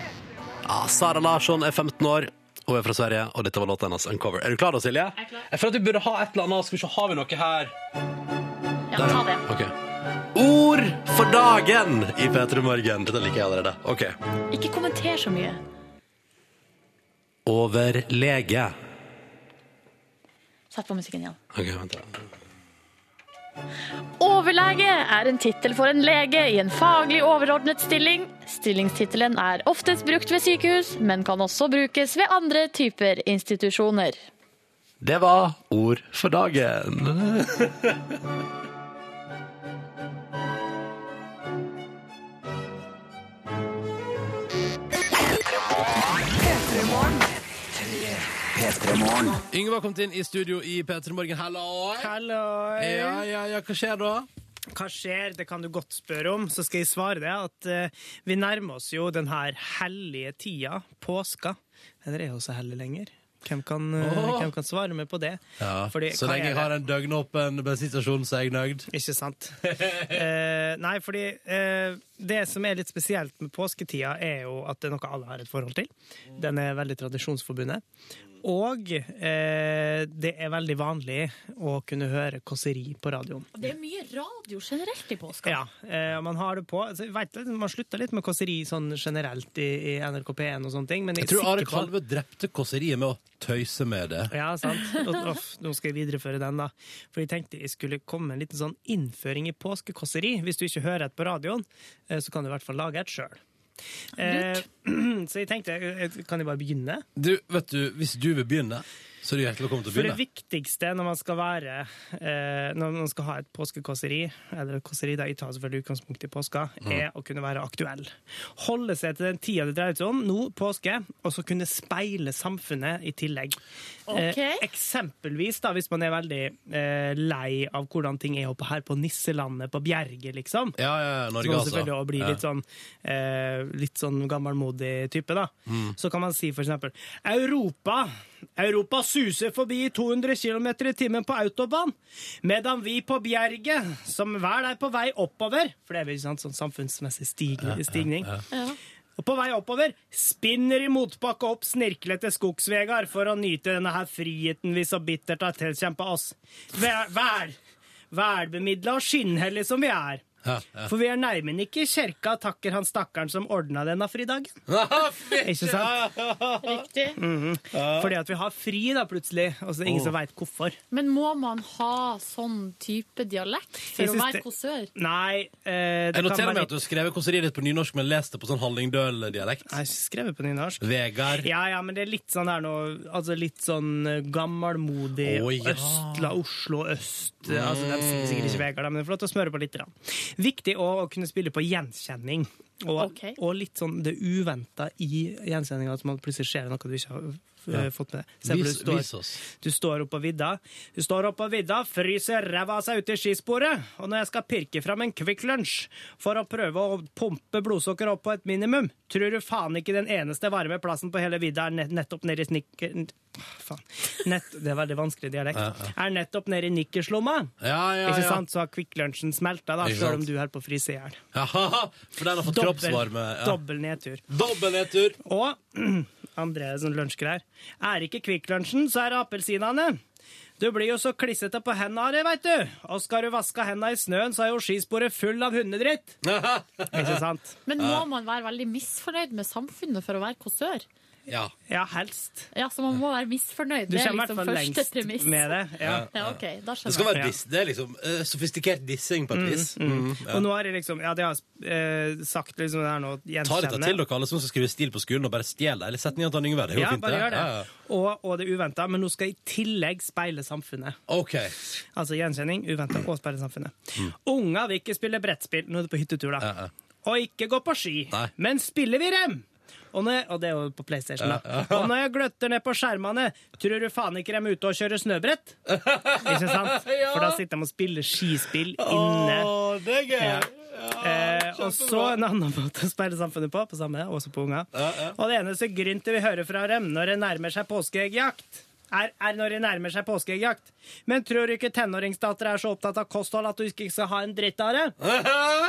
Ja, Sara Larsson er 15 år. Hun er fra Sverige, og dette var låta hennes Uncover. Er du klar da, Silje? Jeg, føler at vi burde ha et eller annet. Skal vi se, har vi noe her? Ja, ta det. Ok. Ord for dagen i P3 Morgen. Dette liker jeg allerede. Ok. Ikke kommenter så mye. Overlege. Sett på musikken igjen. Ok, vent da. Overlege er en tittel for en lege i en faglig overordnet stilling. Stillingstittelen er oftest brukt ved sykehus, men kan også brukes ved andre typer institusjoner. Det var ord for dagen. Yngve har kommet inn i studio i P3 Morgen. Hallo! Ja, ja, ja, hva skjer da? Hva skjer? Det kan du godt spørre om. Så skal jeg svare det at eh, vi nærmer oss jo den her hellige tida, påska. Men det er jo så hellig lenger. Hvem kan, eh, Åh. hvem kan svare meg på det? Ja. Fordi, så hva lenge er jeg det? har en døgnåpen bensinstasjon, så er jeg nøyd. Ikke sant. Eh, nei, fordi eh, det som er litt spesielt med påsketida, er jo at det er noe alle har et forhold til. Den er veldig tradisjonsforbundet. Og eh, det er veldig vanlig å kunne høre kåseri på radioen. Det er mye radio generelt i påska. Ja, eh, og man har det på altså, jeg vet, det, Man slutter litt med kåseri sånn generelt i, i NRK P1 og sånne ting, men jeg, Jeg tror er Are sikker på- Kalve drepte kåseriet med å tøyse med det. Ja, sant. Og, og, nå skal jeg videreføre den, da. For jeg tenkte jeg skulle komme med en liten sånn innføring i påskekåseri. Hvis du ikke hører et på radioen, eh, så kan du i hvert fall lage et sjøl. Eh, så jeg tenkte, eh, kan jeg bare begynne? Du, vet du, hvis du vil begynne, så er du hjertelig velkommen til å For det begynne. viktigste når man skal være eh, Når man skal ha et påskekåseri, eller et kåseri da jeg tar selvfølgelig utgangspunkt i påska, er å kunne være aktuell. Holde seg til den tida det dreier seg om, nå påske, og så kunne speile samfunnet i tillegg. Ok. eksempelvis da, hvis man er veldig eh, lei av hvordan ting er oppe her på Nisselandet, på Bjerget, liksom. Ja, ja, ja, Norge, Så man altså. selvfølgelig også blir Ja. litt sånn, eh, litt sånn gammelmodig type, da. Mm. Så kan man si for eksempel Europa. Europa suser forbi i 200 km i timen på autobahn, medan vi på Bjerget, som hver er på vei oppover For det er vel ikke sant, sånn samfunnsmessig stig, stigning. Og på vei oppover spinner i motbakke opp snirklete skogsvegar for å nyte denne her friheten vi så bittert har tilkjempa oss. Vær, vær, Velbemidla og skinnhellige som vi er. Ja, ja. For vi er nærmen ikke kjerka takker han stakkaren som ordna denne fridagen. Ah, ikke sant? Riktig. Mhm. Fordi at vi har fri da plutselig, og så er det ingen Åh. som veit hvorfor. Men må man ha sånn type dialekt Jeg for å synes være det- kåsør? Nei, eh, det Jeg kan noterer være meg at du har skrevet kåseriet ditt på nynorsk, men lest det på sånn Hallingdøl-dialekt. Jeg skrevet på nynorsk. Vegard. Ja, ja, men det er litt sånn der nå Altså litt sånn eh, gammelmodig Å, ja. Østla, Oslo øst Mm. Altså, de sier sikkert ikke Vegard, da, men det er flott å smøre på litt. Da. Viktig å å kunne spille på gjenkjenning. Og, og litt sånn det uventa i gjenkjenninga, at man plutselig ser noe du ikke har eh, Ja. fått med deg. Se hvor Vis- du står- vis oss. du står oppå vidda. Du står oppå vidda, fryser ræva av seg ute i skisporet. Og når jeg skal pirke fram en Kvikk Lunsj for å prøve å pumpe blodsukkeret opp på et minimum, tror du faen ikke den eneste varme plassen på hele vidda er nett, nettopp nede i snikker... Faen. Nett, det er veldig vanskelig dialekt. Ja, ja. Er nettopp nede i nikkerslomma. Ja, ja, Ikke ja. sant? Så har Kvikk Lunsjen smelta, da, Ikke sjøl om sant. du holder på å fryse i hjel. Jaha, for den har fått Dobbel- kroppsvarme. Ja. Dobbel nedtur. Dobbel nedtur. Og andre sånn lunsjgreier. Er ikke Kvikklunsjen, så er det appelsinene. Du blir jo så klissete på hendene av det, veit du. Og skal du vaske hendene i snøen, så er jo skisporet full av hundedritt. ikke sant? Men må man være veldig misfornøyd med samfunnet for å være kåsør? Ja. Ja, helst. Ja, så man må være misfornøyd. Du Det er kommer i liksom hvert fall første lengst premiss. med det. Ja. ja, ok, da skjønner Det skal være Ja. diss, det er liksom eh, sofistikert dissing på et vis. Mm, ja. Og nå er det liksom Ja, det har jeg eh, sagt liksom det her nå. Ta dette gjenkjenne. til dere alle som skal skrive stil på skolen, og bare stjel det. Eller sett ned Anton Yngve. Det går Ja, fint, bare gjør det. Ja, ja. Og, og det uventa. Men nå skal jeg i tillegg speile samfunnet. Ok. Altså gjenkjenning, uventa Mm. og speile samfunnet. Unger vil ikke spille brettspill Nå er det på hyttetur, da. Og ikke gå på ski. Men spiller vi rem? Og, når jeg, og det er jo på PlayStation, da. Ja, ja. Og når jeg gløtter ned på skjermene, tror du faen ikke de er ute og kjører snøbrett? Ikke sant? Ja. For da sitter de og spiller skispill inne. det er gøy! Eh, og så en annen måte å speile samfunnet på, på samme, også på unga. Og det eneste gryntet vi hører fra dem når det nærmer seg påskeeggjakt, er, er når det nærmer seg påskeeggjakt. Men tror du ikke tenåringsdatter er så opptatt av kosthold at du ikke skal ha en dritt av det?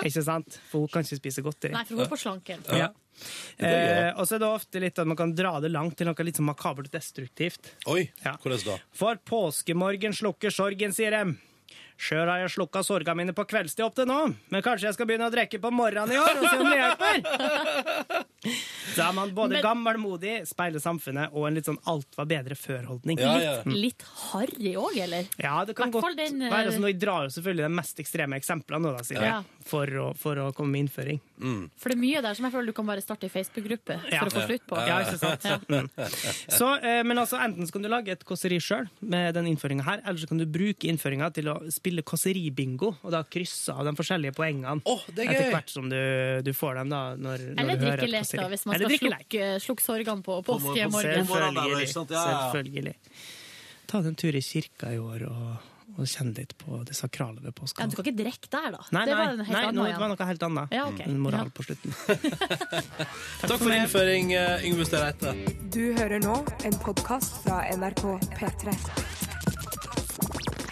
ikke sant? For hun kan ikke spise godteri. Nei, for hun er på slanken. Ja. Det er Eh, og så er det ofte litt at man kan dra det langt til noe litt sånn makabert og destruktivt. Oi, hvordan da? For påskemorgen slukker sorgen, sier de. Sjøl har jeg slukka sorga mine på kveldstid opp til nå, men kanskje jeg skal begynne å drikke på morgenen i år og se om det hjelper? Da er man både Men- gammelmodig, speiler samfunnet og en litt sånn alt var bedre før-holdning. Litt, litt harry òg, eller? Ja, det kan Hvertfall godt den, eh, være. Altså, nå drar jo selvfølgelig de mest ekstreme eksemplene, nå, da, sier Ja. jeg, for å, for å komme med innføring. For det er mye der som jeg føler du kan bare starte i Facebook-gruppe Ja. for å få slutt på. Ja, ikke sant? Ja. Så, eh, men altså, enten så kan du lage et kåseri sjøl med den innføringa her, eller så kan du bruke innføringa til å spille kåseribingo, og da krysse av de forskjellige poengene er gøy! etter hvert som du, du får dem, da, når, når Eller du hører et drikkelek, da, kåseri. hvis man Eller skal drikkelek. slukke, slukke sorgene på Selvfølgelig. påskemorgen. Selvfølgelig. Ta deg en tur i kirka i år og, og kjenne litt på det sakrale ved påska. Ja, du kan ikke drikke der, da. Nei, det nei, var en helt nei annen nå, igjen. det var noe helt annet. Ja, ok. En moral på slutten. Takk for innføring, eh, Yngve Støreite. Du hører nå en podkast fra NRK P3.